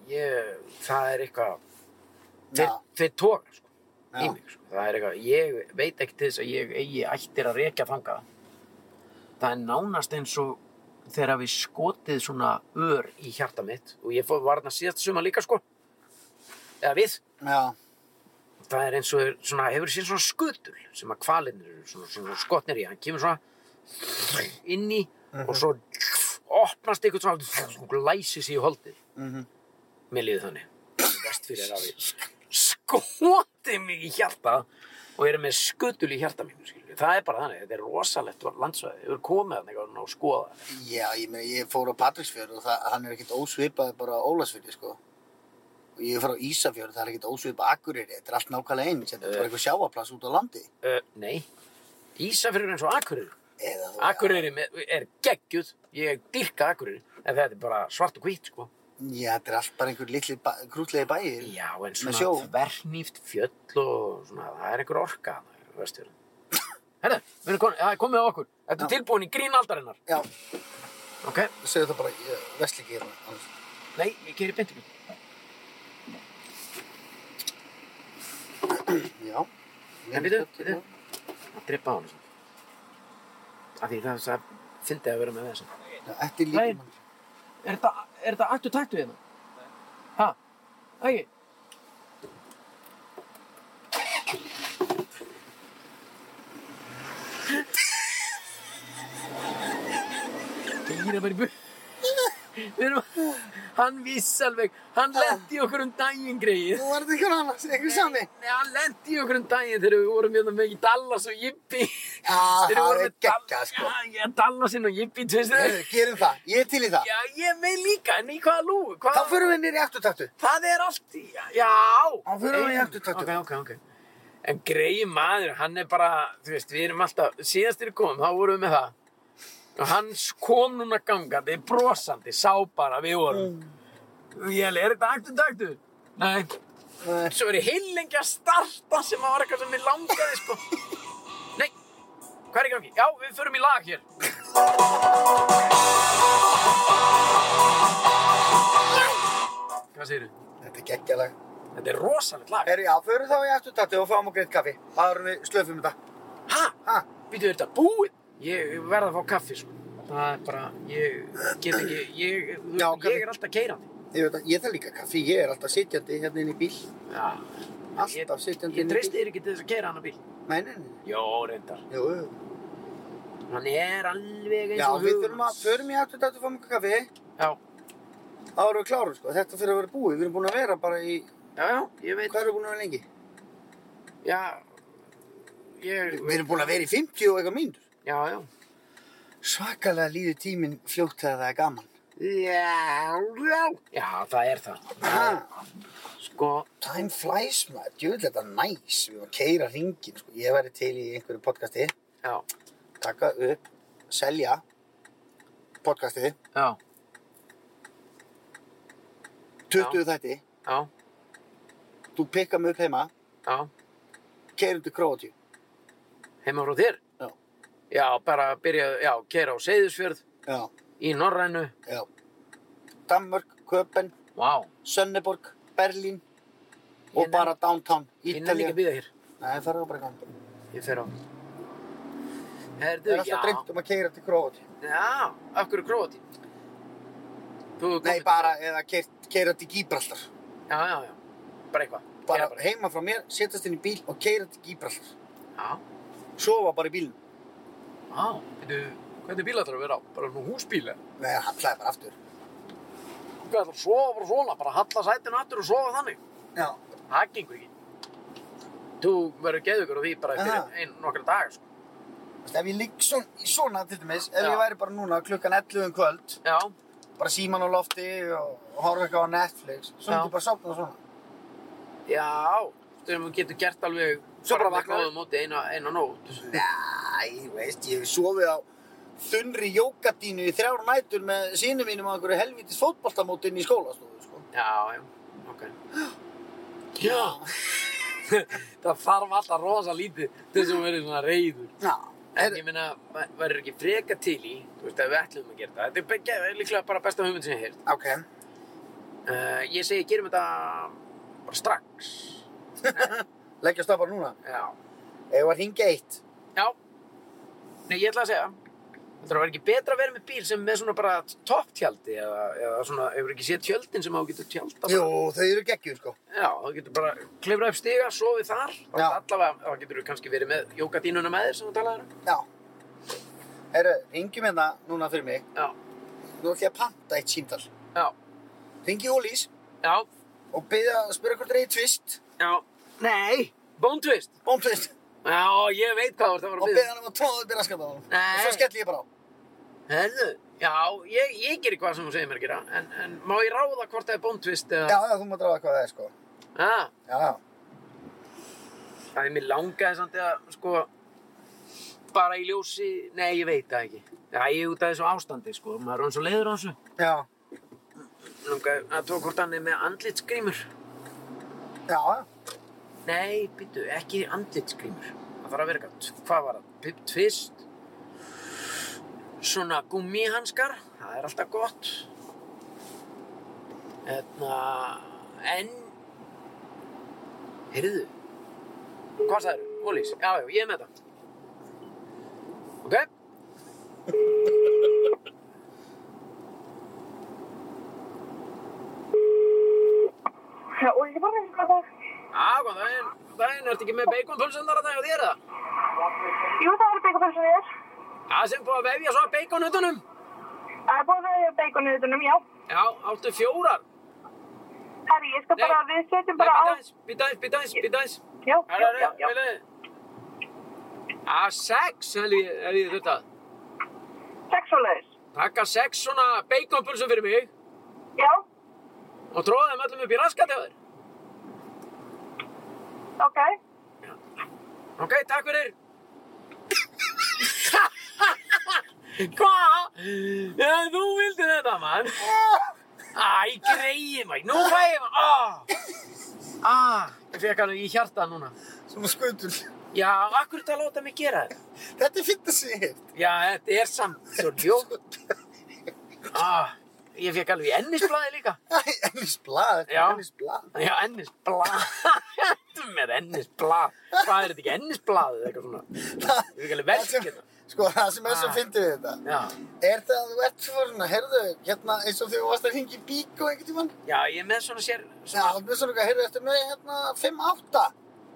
S2: ég, það er eitthvað, þeir,
S1: Já.
S2: þeir tóka, sko,
S1: Já.
S2: í mig, sko. Það er eitthvað, ég veit ekki til þess að ég eigi ættir að rekja þangað. Það er nánast eins og þegar við skotið svona ör í hjarta mitt og ég fór varna síðast suma líka, sko, eða við
S1: Já,
S2: það er eins og er svona, hefur sér svona skutul sem að kvalinir eru svona, svona skotnir í hann kemur svona inn í og svo opnast eitthvað svona og læsi sér í holdið
S1: mhm.
S2: mér liði þannig Vest fyrir afi skotið mig í hjarta og er með skutul í hjarta mínu skilurðu. það er bara þannig, þetta er rosalegt landsvæði, hefur komið þannig að skoða þetta.
S1: já, ég meina, ég fór á Patrísfjörð og það, hann er ekkert ósvipað bara á Ólasfjörði, sko. Og ég fór á Ísafjörð, það er ekkert ósvipað Akureyri, þetta er allt nákvæmlega eins, þetta er
S2: Eh.
S1: bara eitthvað sjáaplass út á landi.
S2: uh, nei, Ísafjörður er eins og Akureyri
S1: Eða, þú-
S2: Akureyri með- er geggjuð ég dyrka Akureyri, en þetta er bara svart og hvít sko
S1: Já, þetta er allt bara einhver litli bæ, krútlegi bæir.
S2: Já, en
S1: Með
S2: svona
S1: sjó.
S2: þvernýft fjöll og svona, það er einhver orka þarna í vestfjörðum. Herra, við erum komin, það er komið á okkur. Þetta er
S1: Já.
S2: tilbúin í grínaldarinnar.
S1: Já,
S2: Ok,
S1: segðu það bara, ég vesli ekki hérna. annars.
S2: nei, ég gerir beint ykkur.
S1: Já.
S2: En við þau, við þau, að drepa á hann. Af því það, það fyndi að vera með þessum.
S1: Þetta er
S2: Nei.
S1: líka mann.
S2: Er þetta, er þetta akt og takt við hérna? Ha? Ægir? Gýra bara í bu... Við erum... Hann vissi alveg, hann lendi í okkur um daginn greið.
S1: Þú varði ekki annars, einhver sami.
S2: Nei, hann lendi í okkur um daginn þegar við vorum hérna með í Dallas og Jippi.
S1: Já,
S2: Þegar við
S1: Ah, það
S2: vorum
S1: er
S2: með Dal-
S1: geggjað, sko.
S2: Já, já, Dallasinn og Jippi, tveist
S1: Heyrðu, Gerum það, ég er til í það.
S2: Já, ég með líka, en í hvaða lúgu? Hvað...
S1: Þá förum við nýri afturtaktu.
S2: Það er allt í, já.
S1: Á, förum við í
S2: Ein-
S1: afturtaktu.
S2: Ok, ok, ok. En greiði maður, hann er bara, þú veist, við erum alltaf, síðast þegar við komum, þá vorum við með það. Og hann kom núna gangandi, brosandi, sá bara, við vorum. Mm. Ég er þetta aktu taktu? Nei.
S1: Nei.
S2: Svo er ég heil lengi að starta sem að var eitthvað sem ég langaði, sko. Nei, hvað er í gangi? Já, við förum í lag hér. Hvað segirðu?
S1: Þetta er geggjað lag.
S2: Þetta er rosalegt lag.
S1: Herru, já, förum þá í afturtaktu og fáum okkur eitt kaffi. Það erum við slöfum þetta.
S2: Hæ?
S1: Ha?
S2: Býtu, er þetta búið? Ég verð að fá kaffi, sko. Það er bara, ég get ekki, ég,
S1: Já, kaffi.
S2: ég er alltaf keirandi.
S1: Ég veit að, ég þarf líka kaffi. Ég er alltaf sitjandi hérna inn í bíl.
S2: Já.
S1: Alltaf sitjandi
S2: Ég
S1: inn í
S2: treysti
S1: bíl.
S2: þér ekki til þess að keira hann á bíl.
S1: Nei, nei, nei.
S2: Jó, reyndar.
S1: Jú, jú.
S2: Hann er alveg eins
S1: Já,
S2: og
S1: við
S2: hugur
S1: þurfum að,
S2: hans.
S1: förum í afturtaktu og fáum okkur kaffi.
S2: Já,
S1: Þá erum við klárum, sko. Þetta fyrir að vera búið. Við erum búin að vera bara í...
S2: já, já, ég veit.
S1: Hvað erum við búin að vera lengi?
S2: Já, ég,
S1: Við erum búin að vera í 50 og eitthvað mínútur.
S2: já, já.
S1: Svakalega líður tíminn fljótt þegar það er gaman.
S2: Já, já. Já, það er það.
S1: Ha,
S2: Sko,
S1: time flies, maður. Djúvill, þetta er næs. Við erum að keira ringin, sko. Ég væri til í einhverju podcasti.
S2: já,
S1: Taka upp, selja podcasti.
S2: já,
S1: 20 þætti.
S2: já,
S1: Þú pikka mig upp heima.
S2: já.
S1: Keirum til Króatíu.
S2: Heima frá þér?
S1: Já.
S2: Já, bara byrja, já, keira á Seyðisfjörð,
S1: Já,
S2: í Norrænu.
S1: já. Danmörk, Köpen,
S2: Vá,
S1: Sönneborg, Berlín og
S2: Ég nefn-
S1: bara downtown.
S2: ég nefn
S1: Ítalja.
S2: ekki að býða hér.
S1: Nei, það er bara gaman.
S2: Ég fer á. Herðu,
S1: Það er alltaf drengt
S2: já.
S1: um að keira til Króatíu.
S2: Já, af hverju Króati? Þú hefur
S1: Nei,
S2: komið-
S1: bara eða keira til Gíbraltar.
S2: Já, já, já. Bara eitthvað.
S1: Bara
S2: Gera
S1: heima frá mér, setjast inn í bíl og keira til Gíbraltar.
S2: Já.
S1: Sofa bara í bílnum.
S2: Já. Veitu, hvernig bíl ætlar að vera á? Bara svona húsbíli?
S1: Nei, hann hlæði bara aftur.
S2: Hvað ætlar að sofa bara svona? Bara halla sætinu aftur og sofa þannig?
S1: Já.
S2: Það gengur ekki. Þú verður geðugur á því bara
S1: Aha.
S2: eftir einn nokkra dagar, sko.
S1: Vist, ef ég ligg svona, svona til dæmis, ef
S2: Já.
S1: ég væri bara núna klukkan 11 um kvöld,
S2: Já.
S1: bara síman á lofti og horfa eitthvað á Netflix, svo
S2: Já.
S1: myndi ég bara sopna svona.
S2: Já. Þegar maður getur gert alveg...
S1: Svo bara
S2: með
S1: vaknar.
S2: góðu móti eina, eina nót.
S1: Næ, veist, ég hef sofið á þunnri jókadínu í þrjár nætur með sínum mínum á einhverju helvitis fótboltamóti inn í skólastofu, sko.
S2: Já, já. Ok. Já. það þarf alltaf rosa lítið til þess að vera svona reyður.
S1: Já.
S2: En ég meina, ma- maður er ekki freka til í, þú veist, ef við ætlum að gera þetta. Þetta er be- ge- líklega bara besta hugmynd sem ég heilt.
S1: Ok.
S2: Uh, ég segi, gerum þetta bara strax.
S1: Leggja stafar núna.
S2: Já.
S1: Ef að ringa eitt.
S2: Já. Nei, ég ætla að segja. Þetta var ekki betra að vera með bíl sem er með svona bara topptjaldi eða, eða svona, hefur ekki séð tjöldin sem á getur tjálta bara.
S1: Jú, þau eru geggjur sko.
S2: Já, þá getur bara klifrað upp stiga, sofið þar. Þá
S1: Já.
S2: Allavega, þá getur þú kannski verið með jókadínuna með þér sem þú talaði um.
S1: Já. Herru, ringjum hérna núna fyrir mig.
S2: Já,
S1: Nú ætlum ég að panta eitt símtal.
S2: já,
S1: Ringi Ólís
S2: já,
S1: og byrja að spyrja hvort það er tvist.
S2: já. Nei. Bóntvist.
S1: Bómtvist.
S2: Já, ég veit hvað þú ert að
S1: Og
S2: fara að
S1: byrja
S2: byrja.
S1: hann um að tóða upp í raskatáðum.
S2: Nei.
S1: Og svo skelli ég bara á.
S2: Herðu, já, ég, ég gerir hvað sem þú segir mér að gera. En, en má ég ráða hvort það er bóntvist
S1: Já,
S2: eða...
S1: já, þú mátt ráða hvað það er sko.
S2: Já.
S1: Já, já.
S2: Það er mér langaði samt að sko bara í ljósi, nei ég veit það ekki. Það er út af þessu ástandi sko, maður er hann svo leiður á þessu.
S1: Já.
S2: Langaði að tók hvort hann er með andlitsgrímur.
S1: Já, já.
S2: Nei, býttu, ekki andlitsgrímur. Það þarf að vera gætt. Hvað var það? Pip tvist, svona gummihanskar, það er alltaf gott. Eðna, en, heyrðu, hvað sagður? Ólís, já, já, ég er með þetta. Ok?
S5: Já, og ég var með hvað það.
S2: Já, góðan daginn. Góðan daginn, ertu ekki með beikonpulsundar að dagja þér það?
S5: Jú, það eru bacon sem við er.
S2: Já, sem búið að vefja svo að beikonhutunum.
S5: Það er búið að bacon í þittunum, já.
S2: Já, áttu fjórar.
S5: Herri, ég skal
S2: Nei.
S5: bara, við setjum
S2: Nei,
S5: bara á.
S2: býta eins, býta eins, býta eins, býta eins.
S5: Já, já,
S2: Herra,
S5: já, já.
S2: herra, vilja. Já, sex hef ég, hef ég þurft að.
S5: Sex og leiðis.
S2: Takka sex svona beikonpulsum fyrir mig
S5: Já,
S2: og tróða þeim öllum upp í raskat hjá þér.
S5: ok.
S2: Ok, takk fyrir. Hva? Já, þú vildi þetta, mann. Æ, greiði mig. Nú fæ ég maður. Ah. ah, ég fekk hann í hjarta núna.
S1: Sem að skutul.
S2: Já, akkur þetta láta mig gera þetta?
S1: Þetta er fint að segja.
S2: Já, þetta er samt svo ljótt. Ah, ég fekk alveg í ennisblæði líka.
S1: Æ, ennisblad.
S2: Já.
S1: Ennisblad.
S2: Já, ennisblað. Þetta er með ennisblað. Hvað er þetta ekki? Ennisblaðið eitthvað svona.
S1: Það
S2: Ég fekk
S1: það
S2: alveg verkið hérna.
S1: sem,
S2: þetta.
S1: sko, það sem er svo
S2: Ah.
S1: fyndið við þetta
S2: Já.
S1: er það að þú ert svona, herðu, hérna eins og þegar þú varst að hringja í bík og einhvern tímann
S2: Já, ég er með svona sér...
S1: Já,
S2: Svona,
S1: alveg svona, heyrðu, þetta með hérna 5-8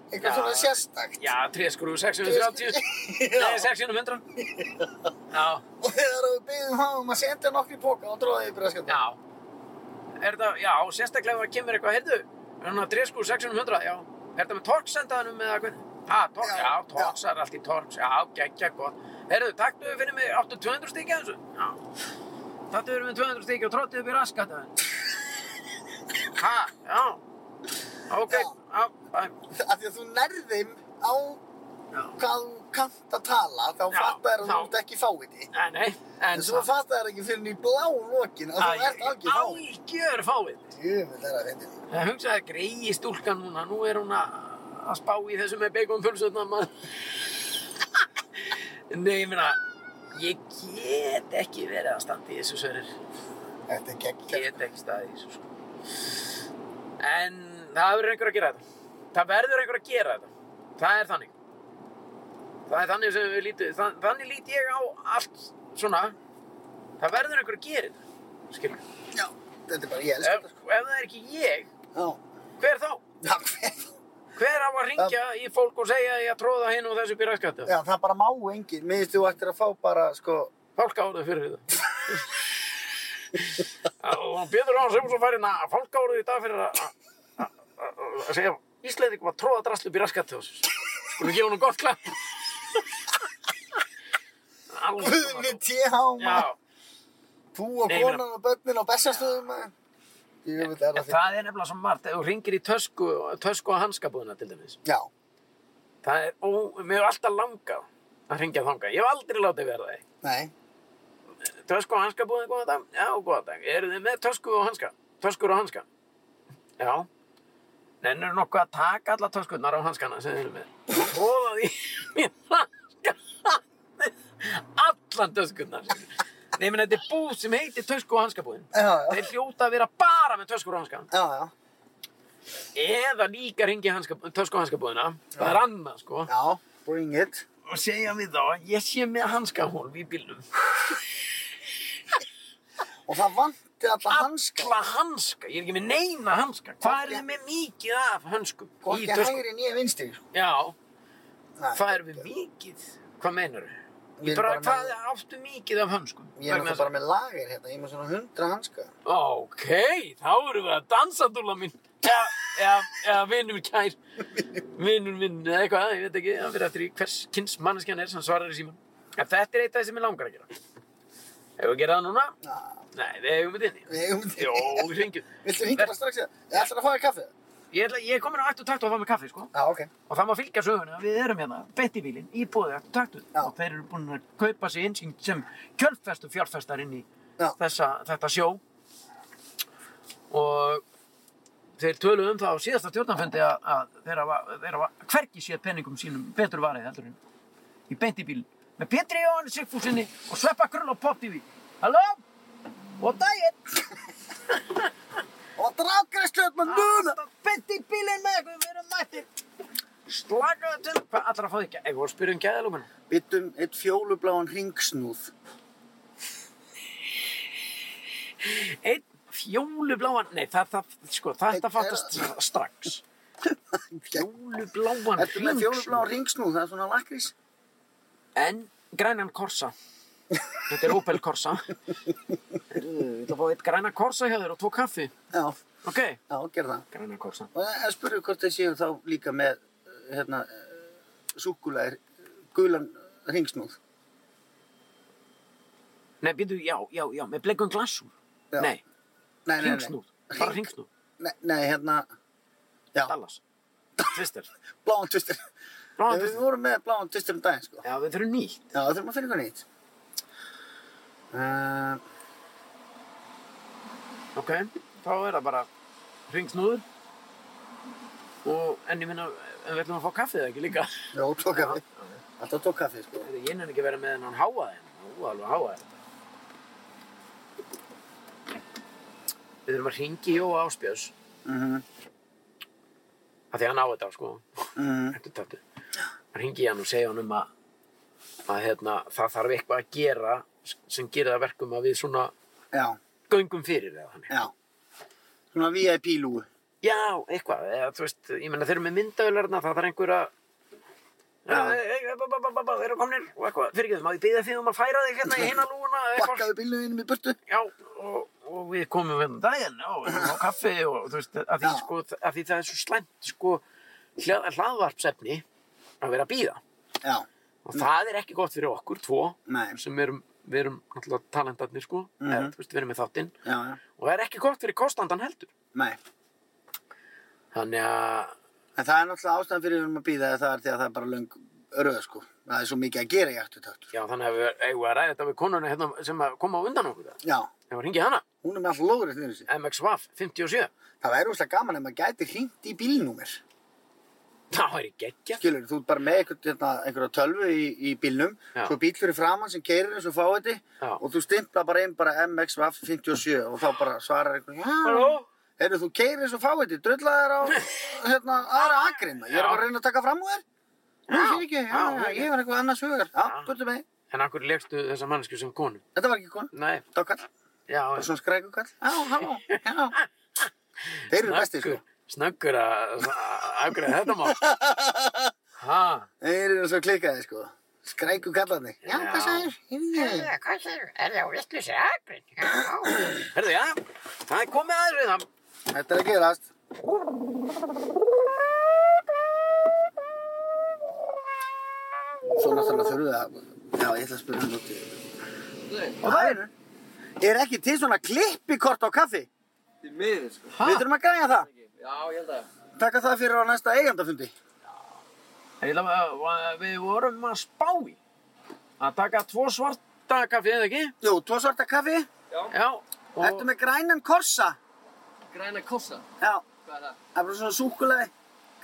S1: eitthvað
S2: Já.
S1: svona sérstakt
S2: já, tréskrúf 630. Nei, 600. Já,
S1: Og þegar þú byggðum hann um að senda nokkri póka og dróða yfir að skjönda
S2: já. Er þetta... Já, sérstaklega ef það kemur eitthvað, heyrðu. Svona tréskrúf 600, já. Er þetta með torksendaðanum eða hvernig? Ha, tork,
S1: Já,
S2: já, torksar, allt í torks. Já, geggja, gott. Heyrðu, taktu við fyrir mig, áttu 200 stíkja þessu? Já. Taktu við með 200 stíkja og tróttu upp í raskataðan. ha, já. Ok,
S1: Já.
S2: já, bæ.
S1: Af því að þú nærð þeim á
S2: Já.
S1: hvað þú kannt að tala þá
S2: Já,
S1: fattar þær að
S2: þá.
S1: þú ert ekki fáiði
S2: Nei, nei, en...
S1: En svo fattar þær ekki fyrir henni í blá lokin að þú ert algjör fáiði
S2: Algjör fáið.
S1: Jöfnvel er að fyndið
S2: Það hugsaði að greiði stúlkan núna, nú er hún að að spá í þessu með beikonpulsutna maður. Nei, ég meina, ég get ekki verið að standa í þessu sörir.
S1: Þetta er geggjart
S2: Get ekki staðið í þessu sko. En það verður einhver að gera þetta. Það verður einhver að gera þetta. Það er þannig. Það er þannig sem við lítið, þann, þannig lít ég á allt svona. Það verður einhver að gera þetta. Skilur.
S1: Já, þetta er bara, ég elskar
S2: ef, ef það er ekki ég,
S1: þetta Já,
S2: hver þá?
S1: já, hver
S2: Hver á að ringja í fólk og segja að ég að tróða hinn og þessu byrjarskattu?
S1: Já, það bara má enginn. Mér finnst þú ættir að fá bara, sko,
S2: Fólk árið fyrir það. og Pétur Án sem svo færinn að fólk árið hérna í dag fyrir að- að- að að segja Ísleiðingum að tróða draslu byrjarskattu þessu. Skulum gefa hún gott klapp. Alveg.
S1: Guðni T.H. maður.
S2: Já,
S1: Þú og
S2: Nei, ég meina-
S1: konan og börnin og bestastöðum, maður. Ég vil þetta er
S2: en
S1: að þig.
S2: það er nefnilega svo margt. Ef þú ringir í tösku, tösku og hanskabúðina til dæmis.
S1: Já,
S2: Það er, ó, mér hefur alltaf langað að ringja þangað. Ég hef aldrei látið verða það.
S1: nei.
S2: Tösku og hanska búðið, góðan dag? Já, góðan dag. Eru þið með tösku og hanska? Töskur og hanska? Já. Nennir nokkuð að taka alla töskunnar á hanskana sem þeir eru með. Róða því mér hanskana. Allan töskunnar. Nei, menn þetta er búð sem heitir tösku og hanskabúðin.
S1: Já, já.
S2: Þeir hljóta að vera bara með töskur og hanska.
S1: Já, já.
S2: Eða líka ringi hanska, tösku og hanskabúðina. Það er annað, sko.
S1: Já, bring it.
S2: Og segja við þá að ég sé með hanskahólf í bílnum.
S1: Og það vanti alla hanska.
S2: Alla hanska. Ég er ekki með neina hanska. Hvað er þið með mikið af hanskum? Í
S1: Hvorki
S2: tösku.
S1: hægri nýja vinstri. sko.
S2: Já,
S1: Nei.
S2: Hvað erum við mikið? Hvað meinar við?
S1: Við erum bara
S2: Bara, hvað
S1: með-
S2: áttu mikið af hönskum?
S1: Ég er náttúrulega
S2: Vegna þess að-
S1: bara með lager hérna. Ég er með svona hundra hanska.
S2: Ok, þá erum við að dansa, dúla mín. Eða, eða, eða vinnur kær. Vinnur minn, eða eitthvað, ég veit ekki. Það fyrir eftir í hvers kynns manneskjan er sem svarar í síman. En þetta er eitt af því sem ég langar að gera. Hefur við að gera það núna?
S1: Já,
S2: Nei, við hefum við þinni.
S1: við eigum
S2: Jó, hringjum.
S1: Viltu hingja bara strax í það? Ég ætlar að fá þér kaffið.
S2: Ég, ætla, ég er komin á ættu takt og að fá mig kaffi, sko.
S1: Já, ok.
S2: Og það má fylgja söguna, við erum hérna, bett í bílinn, í bóði eftir taktu.
S1: Já.
S2: Og þeir eru búin að kaupa sig inn sem- sem kjölfestu fjárfestar inn í
S1: Já.
S2: þessa, þetta sjó. Og þeir töluðu um það á síðasta stjórnarfundi að, að þeir hafa, þeir hafa hvergi séð penningum sínum betur varðið heldur en í bent í bílinn. Með Pétri Jóhann Sigfúsinni og Sveppa Krull og Pop TV. Halló? Og daginn!
S1: Og drafgreðstöð með hérna, núna!
S2: Bent í bílinn með ykkur, við erum mættir. Slakaðu til. Hvað allra fá þig ekki? Eða spyrjum gæðalúmina.
S1: Byttum eitt um fjólubláan ringsnúð.
S2: Einn fjólubláan, nei það, það, sko, þetta
S1: Einn-
S2: fattast strax. Fjólubláan
S1: Þetta með fjólubláan
S2: hringsnúð
S1: ringsnúð, það er svona lakrís.
S2: en grænan korsa. Þetta er Opel korsa. Heyrðu, Ég ætla að fá eitt grænan korsa hjá þér og tvo kaffi.
S1: Já,
S2: Ok,
S1: já, gerð það.
S2: grænan korsa.
S1: Og það er spurðu hvort þeir séu þá líka með, uh, hérna, súkulæðir, gulan ringsnúð.
S2: Nei, býtu, já, já, já, með bleikum glassúr.
S1: Já. Nei,
S2: Nei,
S1: nei, nei.
S2: hringsnúð, bara
S1: Hring-
S2: hringsnúð,
S1: Nei, nei, hérna, já,
S2: Dallas, Twister.
S1: bláan tvistur.
S2: Bláan
S1: Við
S2: Twister.
S1: vorum með bláan tvistur um daginn, sko.
S2: Já, við þurfum nýtt.
S1: Já, það þurfum að finna eitthvað nýtt. Uh,
S2: Ok, þá er það bara hringsnúður. Og, en ég minna, en við ætlum að fá kaffið ekki líka.
S1: já, tók kaffi. Alltaf tók kaffi, sko.
S2: Heyrðu, Ég nenni ekki að vera með hennan háaðin. Þú hérna. alveg hérna. háaðin. Við þurfum að ringi Jóa Áspjörs.
S1: Mhm,
S2: Af því að hann á þetta, sko.
S1: mhm,
S2: Þetta tættu. Ringi hann og segja hann um að, að hérna, það þarf eitthvað að gera sem gerir það verkum að við svona
S1: já,
S2: göngum fyrir eða þannig.
S1: já. Svona VIP-lúi.
S2: Já, eitthvað. Eða, þú veist, ég menna þeir eru með myndaðularna, það þarf einhver að... Já,
S1: Já.
S2: e- e- ba- ba- ba- ba- ba- þeir eru komnir og eitthvað. Fyrirgeðum, að ég býða því um að færa þig hérna í hina lúuna eða eitthvað.
S1: Bakkaðu bílnum innum í burtu.
S2: Já, og, og við komum við um daginn og við komum á kaffi og þú veist, að því,
S1: Já.
S2: sko, að því það er svo slæmt sko, hlað, hlaðvarpsefni að vera að býða.
S1: Já,
S2: Og það er ekki gott fyrir okkur, tvo,
S1: Mm. Nei. Mhm.
S2: sem erum, við erum náttúrulega talentarnir, sko, eða, þú veist, við erum með þáttinn.
S1: já, já,
S2: Og það er ekki gott fyrir kostandan heldur.
S1: nei.
S2: Þannig að,
S1: En það er náttúrulega ástæðan fyrir við erum að býða það er því að það er bara löng röð, sko. Það er svo mikið að gera í afturtaktur.
S2: já, þannig að við eigum að ræða þetta við konuna hérna sem að koma á undan okkur það.
S1: Já,
S2: Ef að ringi hana,
S1: hún er með alltaf lóðrið fyrir sig.
S2: MX Vaf 57.
S1: Það væri úrslega gaman ef maður gæti hringt í bílnúmer.
S2: Það væri geggja.
S1: Skilur, þú ert bara með einhver, hérna, einhverja tölvu í, í bílnum,
S2: Já.
S1: svo bíl fyrir framann sem keirir eins og fáiði
S2: Já.
S1: og þú stimpla bara inn bara MXVAF 57 og þá bara svarar einhver, já,
S2: Halló?
S1: heyrðu þú keirir eins og fáiði, drulla þér á hérna, aðra akrinna, ég er
S2: Já.
S1: bara að reyna að taka fram úr þér. Nú,
S2: Já.
S1: sér ekki, já,
S2: Já,
S1: já,
S2: ok.
S1: ég var eitthvað annars hugar, já,
S2: Já.
S1: burtu með, þig.
S2: En akkur legstu þessa mannesku sem konu?
S1: þetta var ekki konu,
S2: Nei,
S1: það var kall,
S2: já,
S1: það var svona skrækukall, já, halló, já. Þeir eru bestir, sko,
S2: Snöggur að afgræða þetta mál. Ha?
S1: þeir eru svo klikkaði, sko, skrækukallarni, já,
S2: Já.
S1: hvað sagðir, heyrðu,
S6: Hvað segir, er það vittlust akrin?
S2: Herðu, já, það er komið aðeins við það.
S1: þetta er að gerast. Svo náttúrulega þurfum við að, já, ég ætla að spyrja hann út í. Og það eru. Er ekki til svona klippikort á kaffi?
S4: Þið miður, sko.
S2: Ha?
S1: Við þurfum að græja það.
S4: Já, ég held að.
S1: Takka það fyrir á næsta eigandafundi.
S2: Ég ætla að- Við vorum að spá í að taka tvo svarta kaffi, eða ekki?
S1: Jú, tvo svarta kaffi.
S2: Já.
S1: Ertu
S2: Og
S1: með grænan korsa?
S4: Græna kossa.
S1: Já.
S4: Hvað Hvað er það?
S1: Það er bara svona súkulega,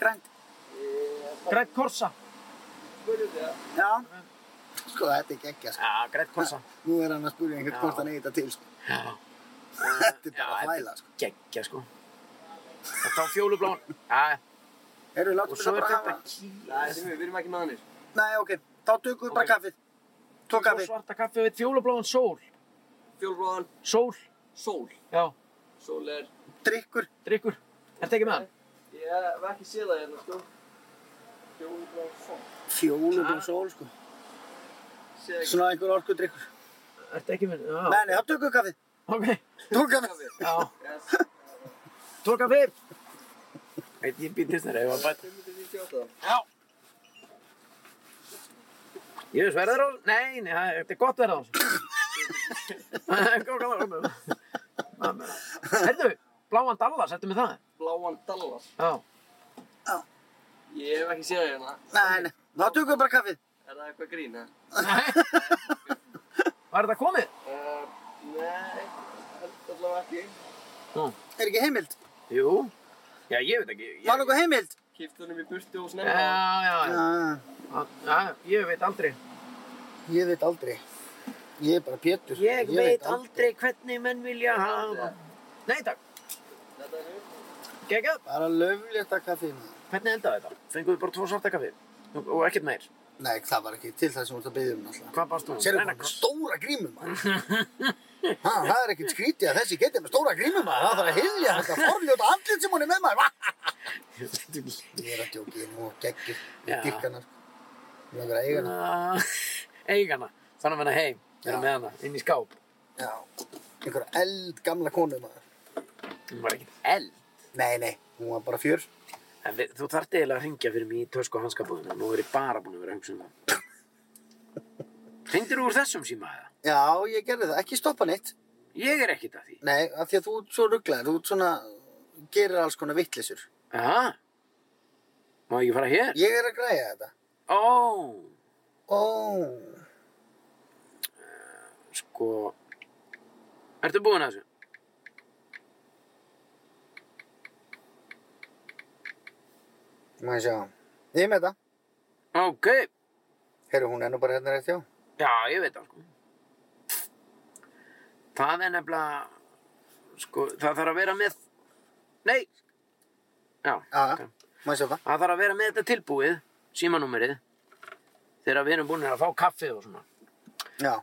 S1: grænt.
S4: Ég...
S2: Grætt korsa.
S4: Spurðu það.
S1: Já. Sko þetta er geggja, sko.
S2: Já, grætt korsa.
S1: Nú er hann að spyrja einhvern
S2: Já.
S1: hvort hann eigi þetta til, sko.
S2: Já.
S1: Þetta er
S2: Já,
S1: bara
S2: þetta-
S1: þvæla, sko.
S2: Geggja, sko. Og þá fjólubláan. Já,
S1: Erum við
S2: og
S1: látið
S2: svo
S1: þetta
S2: er
S1: bara
S2: þetta
S1: hafa?
S4: Það er
S2: kýr.
S4: sem við, við erum ekki maðanir.
S1: Nei, ok. Þá tökum við bara
S2: Ok.
S1: kaffið. Tók
S2: Svo
S1: kaffið.
S2: svarta kaffi við fjólubláan sól.
S4: Fjólblóðan,
S2: Sól.
S4: sól.
S2: Já,
S4: Sól er...
S1: Drykkur.
S2: drikkur. Ertu ekki með hann?
S4: Ég hef ekki séð það hérna, sko. Fjólblóðan, sól.
S1: Fjólubum sól, sko.
S4: Séð ekki.
S1: Svona einhver orku drykkur.
S2: Ertu ekki með? Já.
S1: Nei, nei, þá tökum við kaffið.
S2: Ok.
S1: Tók kaffið.
S4: Kaffið.
S2: Já.
S4: Yes.
S2: Tvo kaffi. Eitt ég býtist þér ef að bæta.
S4: 598.
S2: Já. Ég veist verður ás. Nei, nei, það- þetta er gott verður ás. Það er gott verður ás. Herðu, bláan Dallas, ertu með það?
S4: Bláan Dallas.
S2: Já.
S4: Ég hef ekki séð það hérna.
S1: Nei, nei. Þá tökum við bara kaffið.
S4: Er það eitthvað grín, eða?
S2: Var þetta komið?
S4: Uh, nei, held allavega ekki.
S1: Er ekki heimild?
S2: Jú. Já, ég veit ekki.
S1: Var
S2: Ég...
S1: nokkuð heimild?
S4: Kýft honum í burtu
S2: Já,
S4: og snemma.
S2: já, já.
S1: Já,
S2: Já, ég veit aldrei.
S1: ég veit aldrei. Ég er bara Pétur.
S2: hvernig menn vilja hafa. Nei, takk.
S4: Þetta er hér.
S2: Gekkað.
S1: Bara löflétta kaffið. maður.
S2: Hvernig endaði þetta? Fenguðu bara tvo svarta kaffi og, og ekkert meir.
S1: Nei, það var ekki til það sem þú ert að byggja um náttúrulega.
S2: Hvað báðst þú?
S1: Sérðu hvað með stóra grímum maður? Ha, það er ekkert skrítið að þessi getið með stóra grímum maður. Það þarf að hyðja þetta forljóta andlit sem hún er með maður. Va? Ég er að djóki, ég er nú geggir
S2: Já.
S1: við dyrkana. Ég er að eiga hana.
S2: Eigana. Þannig að menna heim. Við erum
S1: Já.
S2: með hana inn í skáp.
S1: Já, einhverja eld gamla konu maður.
S2: Hún var ekkert eld.
S1: Nei, nei, hún var bara fjör.
S2: En við, þú þarft eiginlega að hringja fyrir mig í tösku og hanskabúðinu. Nú er ég bara búin að vera að hugsa um það. Hringdir þú úr þessum síma eða?
S1: Já, ég gerði það. Ekki stoppa neitt.
S2: Ég er ekkert að því.
S1: Nei, af því að þú ert svo rugglaður. Þú ert svona, gerir alls konar vittlisur.
S2: Aha. Má ég fara hér?
S1: Ég er að græja þetta.
S2: Ó,
S1: Ó,
S2: sko. Ertu búin að þessu?
S1: maður sjá. Ég er með þetta.
S2: Ok.
S1: Herru, hún er nú bara hérna rétt hjá.
S2: Já, ég veit það sko. Það er nefnilega, sko, það þarf að vera með, nei, já,
S1: Já,
S2: ok.
S1: maður sjá það.
S2: það þarf að vera með þetta tilbúið, símanúmerið, þegar við erum búin að fá kaffið og svona.
S1: Já,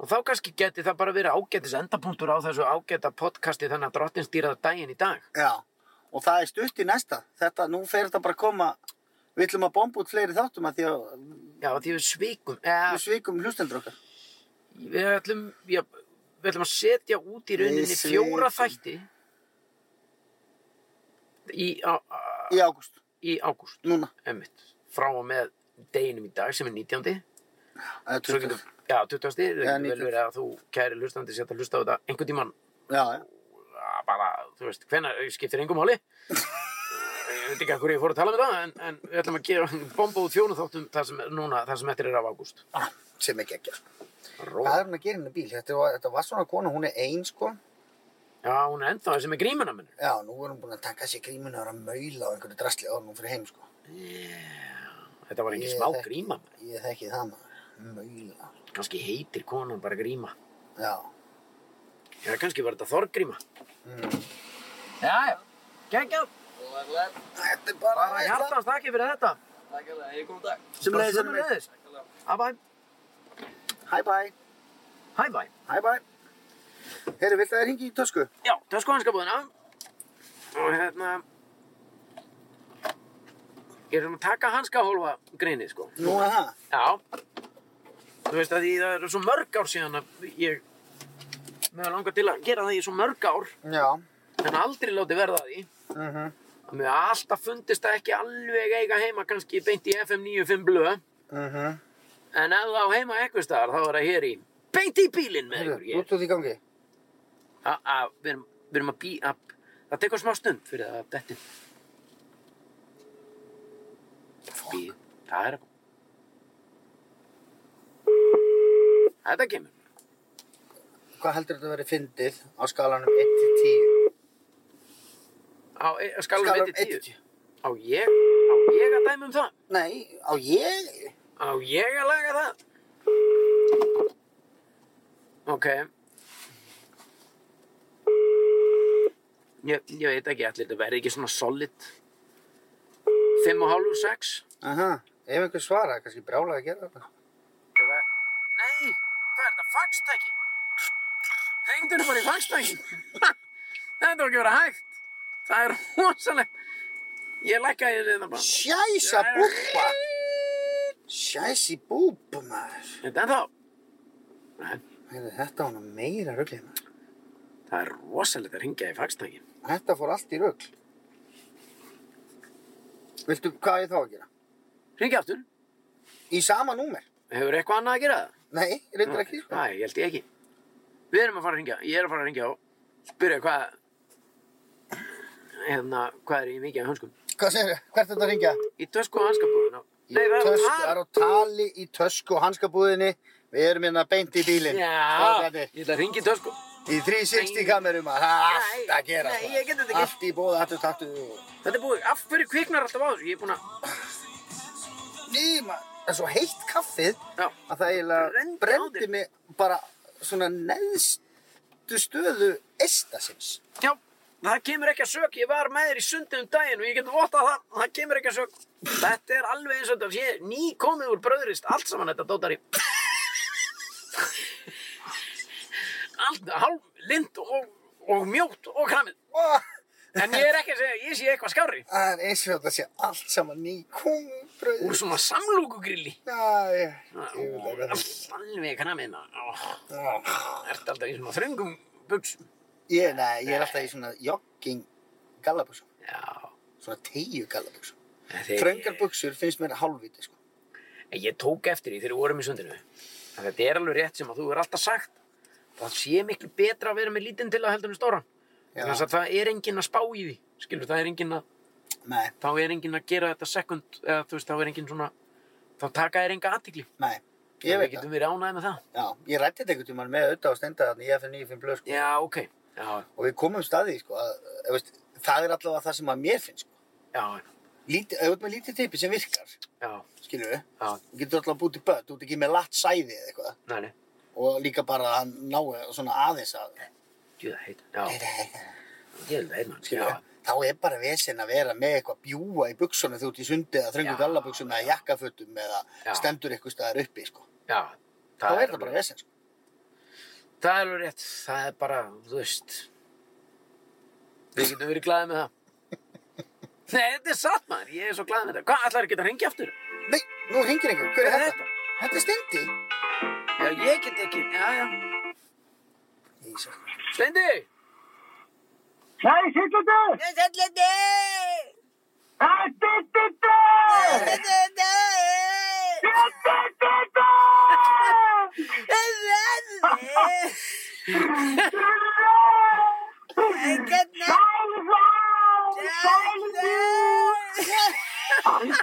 S2: Og þá kannski geti það bara verið ágætis endapunktur á þessu ágæta podcasti þannig að drottin stýraða daginn í dag.
S1: já. Og það er stutt í næsta. Þetta, nú fer þetta bara að koma, við ætlum að bomba út fleiri þáttum að því að
S2: Já, því við svikum, eða,
S1: við svikum hlustendur okkar.
S2: við ætlum, já, við ætlum að setja út í rauninni
S1: Við
S2: fjóra
S1: svikum.
S2: þætti í, á, á,
S1: Í ágúst,
S2: í ágúst.
S1: núna.
S2: einmitt, frá og með deginum í dag sem er 19.
S1: Eða
S2: Svo
S1: 20.
S2: getur, já, 20.
S1: Já,
S2: Það getur vel
S1: 19..
S2: verið að þú kæri hlustandi setja að hlusta á þetta einhvern tímann
S1: Já, já.
S2: ah, bara, þú veist, hvenær skiptir engum máli. ég veit ekki að hverju ég fór að tala með það en, en við ætlum að gera bomba út fjónu þáttum það sem, er núna, það sem eftir er af ágúst.
S1: Ah, sem ekki ekki.
S2: Ró.
S1: Hvað er hún að gera henni bíl? Þetta var, þetta var svona kona, hún er ein, sko.
S2: Já, hún er ennþá þessi með grímuna minnur.
S1: Já, nú er hún búin að taka sér gríminu og er að maula á einhverju drasli áður en hún fyrir heim, sko.
S2: Þetta var ekki
S1: Ég
S2: smá
S1: þekki.
S2: gríma.
S1: Ég þekki það, maður. Maula.
S2: Kanski heitir konan bara gríma.
S1: Já.
S2: Eða kannski var þetta þorgríma.
S1: Mm.
S2: Já, já. Gengjað.
S4: Lærlega,
S1: Þetta er bara
S2: Bara hjartast ekki fyrir þetta.
S4: takk alveg, hei, góðan dag.
S1: Sem leiðis henni mig.
S2: Sömuleiðis.
S4: Takk alveg.
S2: Abba,
S1: Hæ, bæ.
S2: hæ bæ.
S1: Hæ, bæ. Herru, vilt það er hingi í tösku?
S2: Já, það er sko hanskabúðina og hérna ég er svona að taka hanskahólfa grinni sko
S1: Nú er það.
S2: Já Þú veist að því það eru svo mörg ár síðan að ég mér hefur langað til að gera það í svo mörg ár
S1: Já.
S2: en aldrei láti verða að því
S1: Mm -hmm.
S2: að mér hefur alltaf fundist það ekki alveg eiga heima kannski beint í FM 95 blöð
S1: Mm -hmm.
S2: en ef það á heima eitthvað staðar þá er það hér í beint í bílinn með ykkur ég
S1: út úr því gangi.
S2: að- að við erum, við erum að bí að, það tekur smá stund fyrir það að detti bí, það er að koma þetta kemur
S1: Hvað heldur þetta að vera fyndið á skalanum 1 til 10?
S2: Á e- skalum 1
S1: Skalar
S2: til 10.
S1: 1.
S2: Á ég, á ég að dæma um það?
S1: Nei, á ég?
S2: Á ég að laga það? Ok. Ég, ég veit ekki allir, þetta verði ekki svona solid. 5 og hálfur 6?
S1: Aha, ef einhver svara, kannski brjálega að gera þetta.
S2: Eða... Nei, hvað er þetta? Fagstæki? Hengdu henni bara í fagstæki. þetta var ekki verið hægt. Það er rosalegt. Ég lækkaði þetta bara.
S1: Sjæsa búpa! Sjæsi búpa, maður.
S2: Þetta en þá. Hérna Nei,
S1: Heyrðu, þetta var nú meira ruglið, maður.
S2: það er rosalegt að ringja í fagstæki.
S1: Þetta fór allt í rugl. Viltu, hvað á ég þá að gera?
S2: Ringja aftur.
S1: Í sama númer?
S2: Hefur eitthvað annað að gera það?
S1: Nei, reyndar ekki. sko.
S2: Nei, ég held ég ekki. Við erum að fara að ringja. Ég er að fara að ringja og spyrja hvað... Hérna, hvað er í mikið af hönskum?
S1: Hvað segir þau? Hvert er þetta að ringja?
S2: Í tösku og hanskapúðinu. Nei, það er
S1: tösku,
S2: að
S1: það er á tali í tösku og hanskabúðinni. Við erum hérna beint í bílinn.
S2: Já,
S1: Strákarnir.
S2: ég ætla að ringja í tösku.
S1: Í 360 kamerum að það er allt að gera.
S2: Nei,
S1: sko.
S2: ég get þetta ekki.
S1: Allt í bóða, allt tattu.
S2: Þetta er búið, af hverju kviknar alltaf á þessu? Ég er búin að,
S1: Ný, maður, það er svo heitt kaffið
S2: já,
S1: að það eiginlega
S2: Brenndi á
S1: brendi
S2: þér.
S1: mig bara svona neðstu stöðu estasins.
S2: já, það kemur ekki að sök. Ég var með þér í sundi um daginn og ég get vottað það, það kemur ekki að sök. Þetta er alveg eins og þetta sé ný komið úr bröðrist, allt saman þetta dótari. Allt, hálf, lind og, og mjótt og kramið.
S1: Ó,
S2: En ég er ekki að segja, að ég sé eitthvað skári.
S1: Það er eins og þetta sé allt saman ný
S2: Úr
S1: kúmbröð.
S2: svona samlúkugrilli.
S1: Já, ég, ég vil ekki að það.
S2: Alveg kramiðna.
S1: Já.
S2: Ert alltaf í svona þröngum buksum.
S1: Ég, nei, ég er alltaf í svona jogging gallabuxum.
S2: Já.
S1: Svona tegju gallabuxum.
S2: Þeir-
S1: Þröngar buxur finnst mér hálfviti, sko.
S2: En ég tók eftir því þegar við vorum í sundinu. að Þetta er alveg rétt sem að þú er alltaf sagt. Það sé miklu betra að vera með lítinn til að heldur en stóran.
S1: Já.
S2: Þannig að það er enginn að spá í því. Skilur, það er enginn að,
S1: Nei,
S2: þá er enginn að gera þetta sekund, eða þú veist, þá er enginn svona, þá taka þér enga aðtikli.
S1: nei, ég
S2: Við
S1: veit það.
S2: getum verið ánæðið með það.
S1: Já, ég rætti þetta einhvern tímann með auðvitað og stenda þarna í FN95 blöð, sko.
S2: Já, ok. Já,
S1: Og við komum staðið, sko, að, að, veist, það er allavega það sem að mér finnst, sko.
S2: já,
S1: Lítið, auðvitað með lítið tippi sem virkar,
S2: já,
S1: skilur við.
S2: já,
S1: Þú getur allavega bútið börn, þú ert ekki með latt sæði eða eitthvað.
S2: næ, næ,
S1: Og líka bara að hann náu svona aðeins að,
S2: djúða heit. Já, djúða heit, mann.
S1: skilur
S2: Já,
S1: við. Þá er bara vesen að vera með eitthvað bjúa í buksunum þú ert í sundi eða þröngu
S2: Já.
S1: gallabuxum eða jakkafutum eða
S2: Já.
S1: stendur eitthvað staðar uppi, sko.
S2: já.
S1: Þá er það bara vesen, sko.
S2: Það er alveg rétt, það er bara, þú veist Við getum verið glaðið með það Nei, þetta er satt maður, ég er svo glaðið með þetta Hvað, ætlar ekki að hringja aftur?
S1: Nei, nú hringir einhver. Hver er
S2: Hver er
S1: þetta? Þetta er Steindi.
S2: Já, ég get ekki, já, já
S1: Ísa.
S2: Steindi,
S5: Nei, sýtlutur! Nei, sýtlutur! Sýtlutur!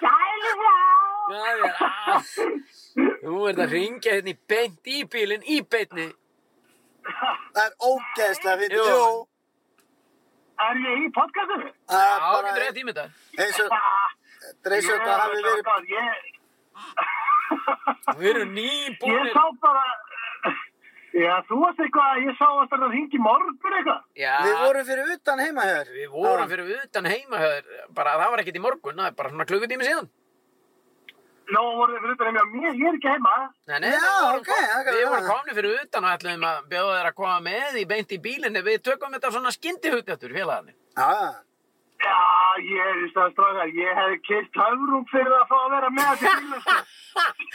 S2: já, já á. Nú er þetta að hringja hérna í beint í bílinn, í beinni
S1: Það er ógeðslega fyrir.
S2: Jú.
S1: Jú.
S5: Er ég í podcastinu?
S1: Það
S2: Já,
S1: er bara
S2: getur rétt í mynda
S1: eins og þetta er eins og þetta hafi verið.
S5: Ég,
S2: Við erum
S5: ég
S2: nýbúnir
S5: sá bara... Já, þú varst eitthvað að ég sá að það hringi morgun eitthvað.
S2: Já,
S1: Við vorum fyrir utan heima hér.
S2: við vorum fyrir utan heima höfður Bara, það var ekkert í morgun, það er bara svona klukkutími síðan
S5: Nó, voruð þið fyrir utan heima. Mér, ég er ekki heima.
S2: Nei, nei,
S1: Já,
S2: við vorum
S1: ok,
S2: kom-
S1: ok,
S2: við
S1: já.
S2: vorum komni fyrir utan og ætlum að bjóða þér að koma með í beint í bílinni. Við tökum þetta svona skyndihut eftir félagarnir.
S1: Já,
S5: Já, ég er í stað strákar. Ég hef keitt höfrung fyrir að fá að vera með þetta bílum, sko.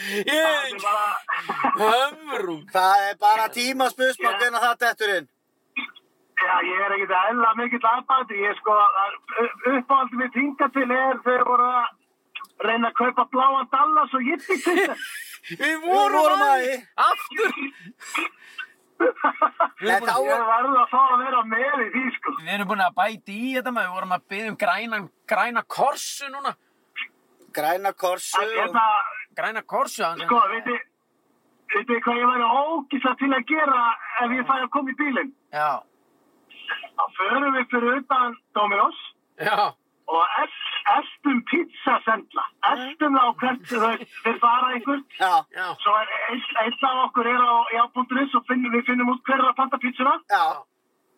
S5: Þetta
S2: Ég,
S5: er bara...
S2: höfrung.
S1: það er bara tíma spursmann hvernig það dettur inn.
S5: Já, ég er ekkert að ella mikill aðbæti. Ég sko, uppáhaldið mitt hinga til er þegar voru að reyna að kaupa bláan Dallas og Yippie Twitter.
S2: Við
S1: Við
S2: vorum,
S1: vorum
S2: að
S1: að
S2: því.
S1: því.
S2: Aftur.
S1: Nei, þá
S5: Ég
S1: er...
S5: verði að fá að vera með í því, sko.
S2: Við erum búin að bæti í þetta maður. Við vorum að byggja um græna, græna korsu núna.
S1: Græna korsu
S5: En
S1: og...
S5: hérna,
S2: Græna korsu. hann-
S5: sko, veitir, veitir hvað ég væri ógísla til að gera ef ég fæ að koma í bílinn?
S2: Já,
S5: Þá förum við fyrir utan Dominos
S2: já, Já,
S5: og elt, eltum pizzasendla. Eltum þá hvert þau þeir fara einhvern.
S1: Já,
S2: já,
S5: Svo er einn einn af okkur er á já.is og finnum, við finnum út hver er að panta pizzuna.
S1: já,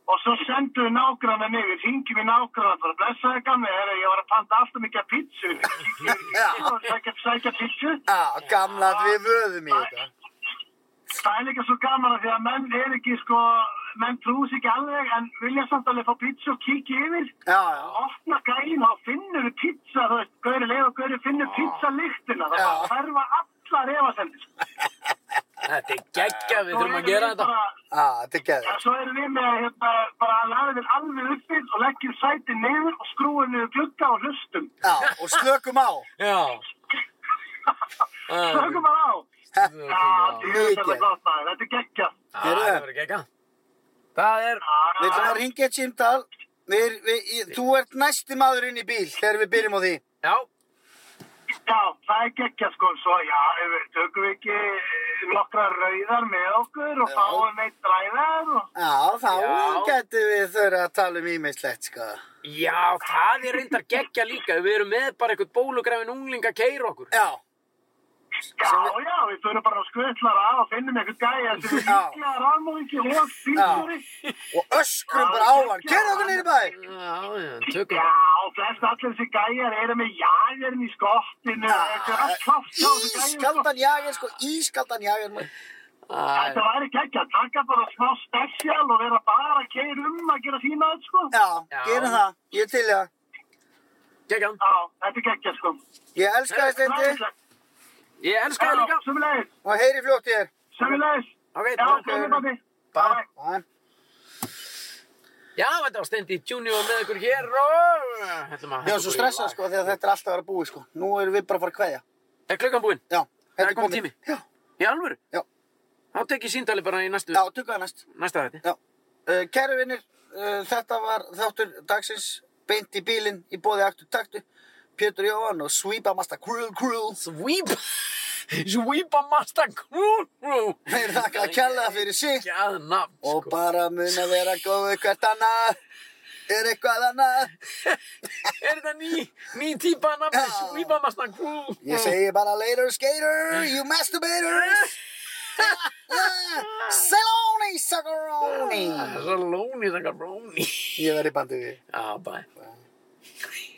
S5: Og svo sendum við nágrannan yfir, hringjum í nágrannan bara blessaði gamli, herra, ég var að panta alltaf mikið af pizzu. Ég er ekki að sækja, sækja pizzu.
S1: já, gamla að við vöðum í þetta.
S5: Það er líka svo gaman að því að menn er ekki sko, menn trúðs ekki alveg en vilja samt alveg fá pizzu og kíkja yfir.
S1: Já, já,
S5: Opna gælin og finnur við pizza, þú veist, gauri leið og gauri finnur pizzalyktina.
S1: Já.
S5: Það ferfa allar efasendir.
S2: þetta er geggja, við þurfum að gera þetta.
S1: já, þetta er geður.
S5: Svo erum við með hérna, bara að laga þér alveg uppið og leggjum sæti niður og skrúum niður glugga og hlustum.
S1: Já, og slökum á.
S2: Já.
S5: Slökum bara á.
S2: Slökum
S5: Já,
S2: á.
S5: því er þetta
S1: Mikið.
S5: gott maður. Þetta er geggja.
S2: Já,
S1: Heyrðu.
S2: Það verður geggja. Það er,
S1: Við ætlum að ringja eitt símtal. Við, við, í, þú ert næsti maðurinn í bíl þegar við byrjum á því.
S2: já,
S5: Já, það er geggja sko. Svo já, ef við tökum við ekki eh, nokkra rauðar með okkur og
S1: Já.
S5: fáum eitt dræðar og...
S1: Já, þá
S2: Já.
S1: getum við þurfa að tala um ímeinslegt, sko.
S2: já, það er reyndar geggja líka. Við erum með bara eitthvað bólugrafin ungling að keira okkur.
S1: Já,
S5: Já, já, við þurfum bara að skvöldlar að og finnum eitthvað gæja sem er
S1: Já.
S5: líklega rafmóðingi og bílstjóri.
S1: og öskrum bara á hann. Kerðu okkur niður í bæ.
S2: Já, já, tökum.
S5: Já, flest allir þessi gæjar eru með jáðurinn í skottinu og þetta er allt klátt hjá þessu gæjar, sko.
S1: Ískaldan jager, sko. Ískaldan jager. maður.
S2: Æ,
S5: Þetta væri ekki að taka bara smá spesial og vera bara að keira um að gera sína þetta sko.
S1: Já,
S2: Já.
S1: gerum það. Ég er til í það.
S2: Geggjan.
S5: Já, þetta er geggja sko.
S1: Ég elska þess endi
S2: Ég elska það líka.
S5: Sumulegis,
S1: og heyri fljótt í þér.
S5: sumulegis.
S2: Ok,
S5: Já,
S2: takk.
S5: komið pappi.
S2: Bye.
S5: Bye.
S1: Bæ.
S2: Já, þetta var Stendi Junior með ykkur hér hérna og... ætlum að
S1: Ég
S2: henda
S1: var svo
S2: okkur í
S1: stressað
S2: lag.
S1: sko þegar þetta er alltaf að vera búið sko. Nú erum við bara að fara að kveðja.
S2: Er klukkan búinn?
S1: Já,
S2: Það er kominn tími.
S1: Já,
S2: Í alvöru?
S1: Já.
S2: Þá tek ég síndali bara í næstu,
S1: já, tukkaði næst.
S2: næsta þætti.
S1: Já. Uh, kæru vinnir, uh, þetta var þáttur dagsins beint í bílinn í bóði aktu taktu. Pétur Jóhann og Sweepa Masta Cruel Cruel.
S2: Sweep! Sweepa Master Crew!
S1: Þeir þakka að kjalla fyrir sig
S2: Gæð nafn,
S1: og
S2: sko.
S1: bara mun að vera góðu hvert annað. Er eitthvað annað?
S2: Er þetta ný, ný típa af nafni?
S1: Já.
S2: Sweepa Master Crew!
S1: Ég segi bara later skater, you masturbators. Saloni, suckeroni.
S2: Salóni, þakkar Róni. Ah,
S1: Ég verði bandið við.
S2: Já, bæ.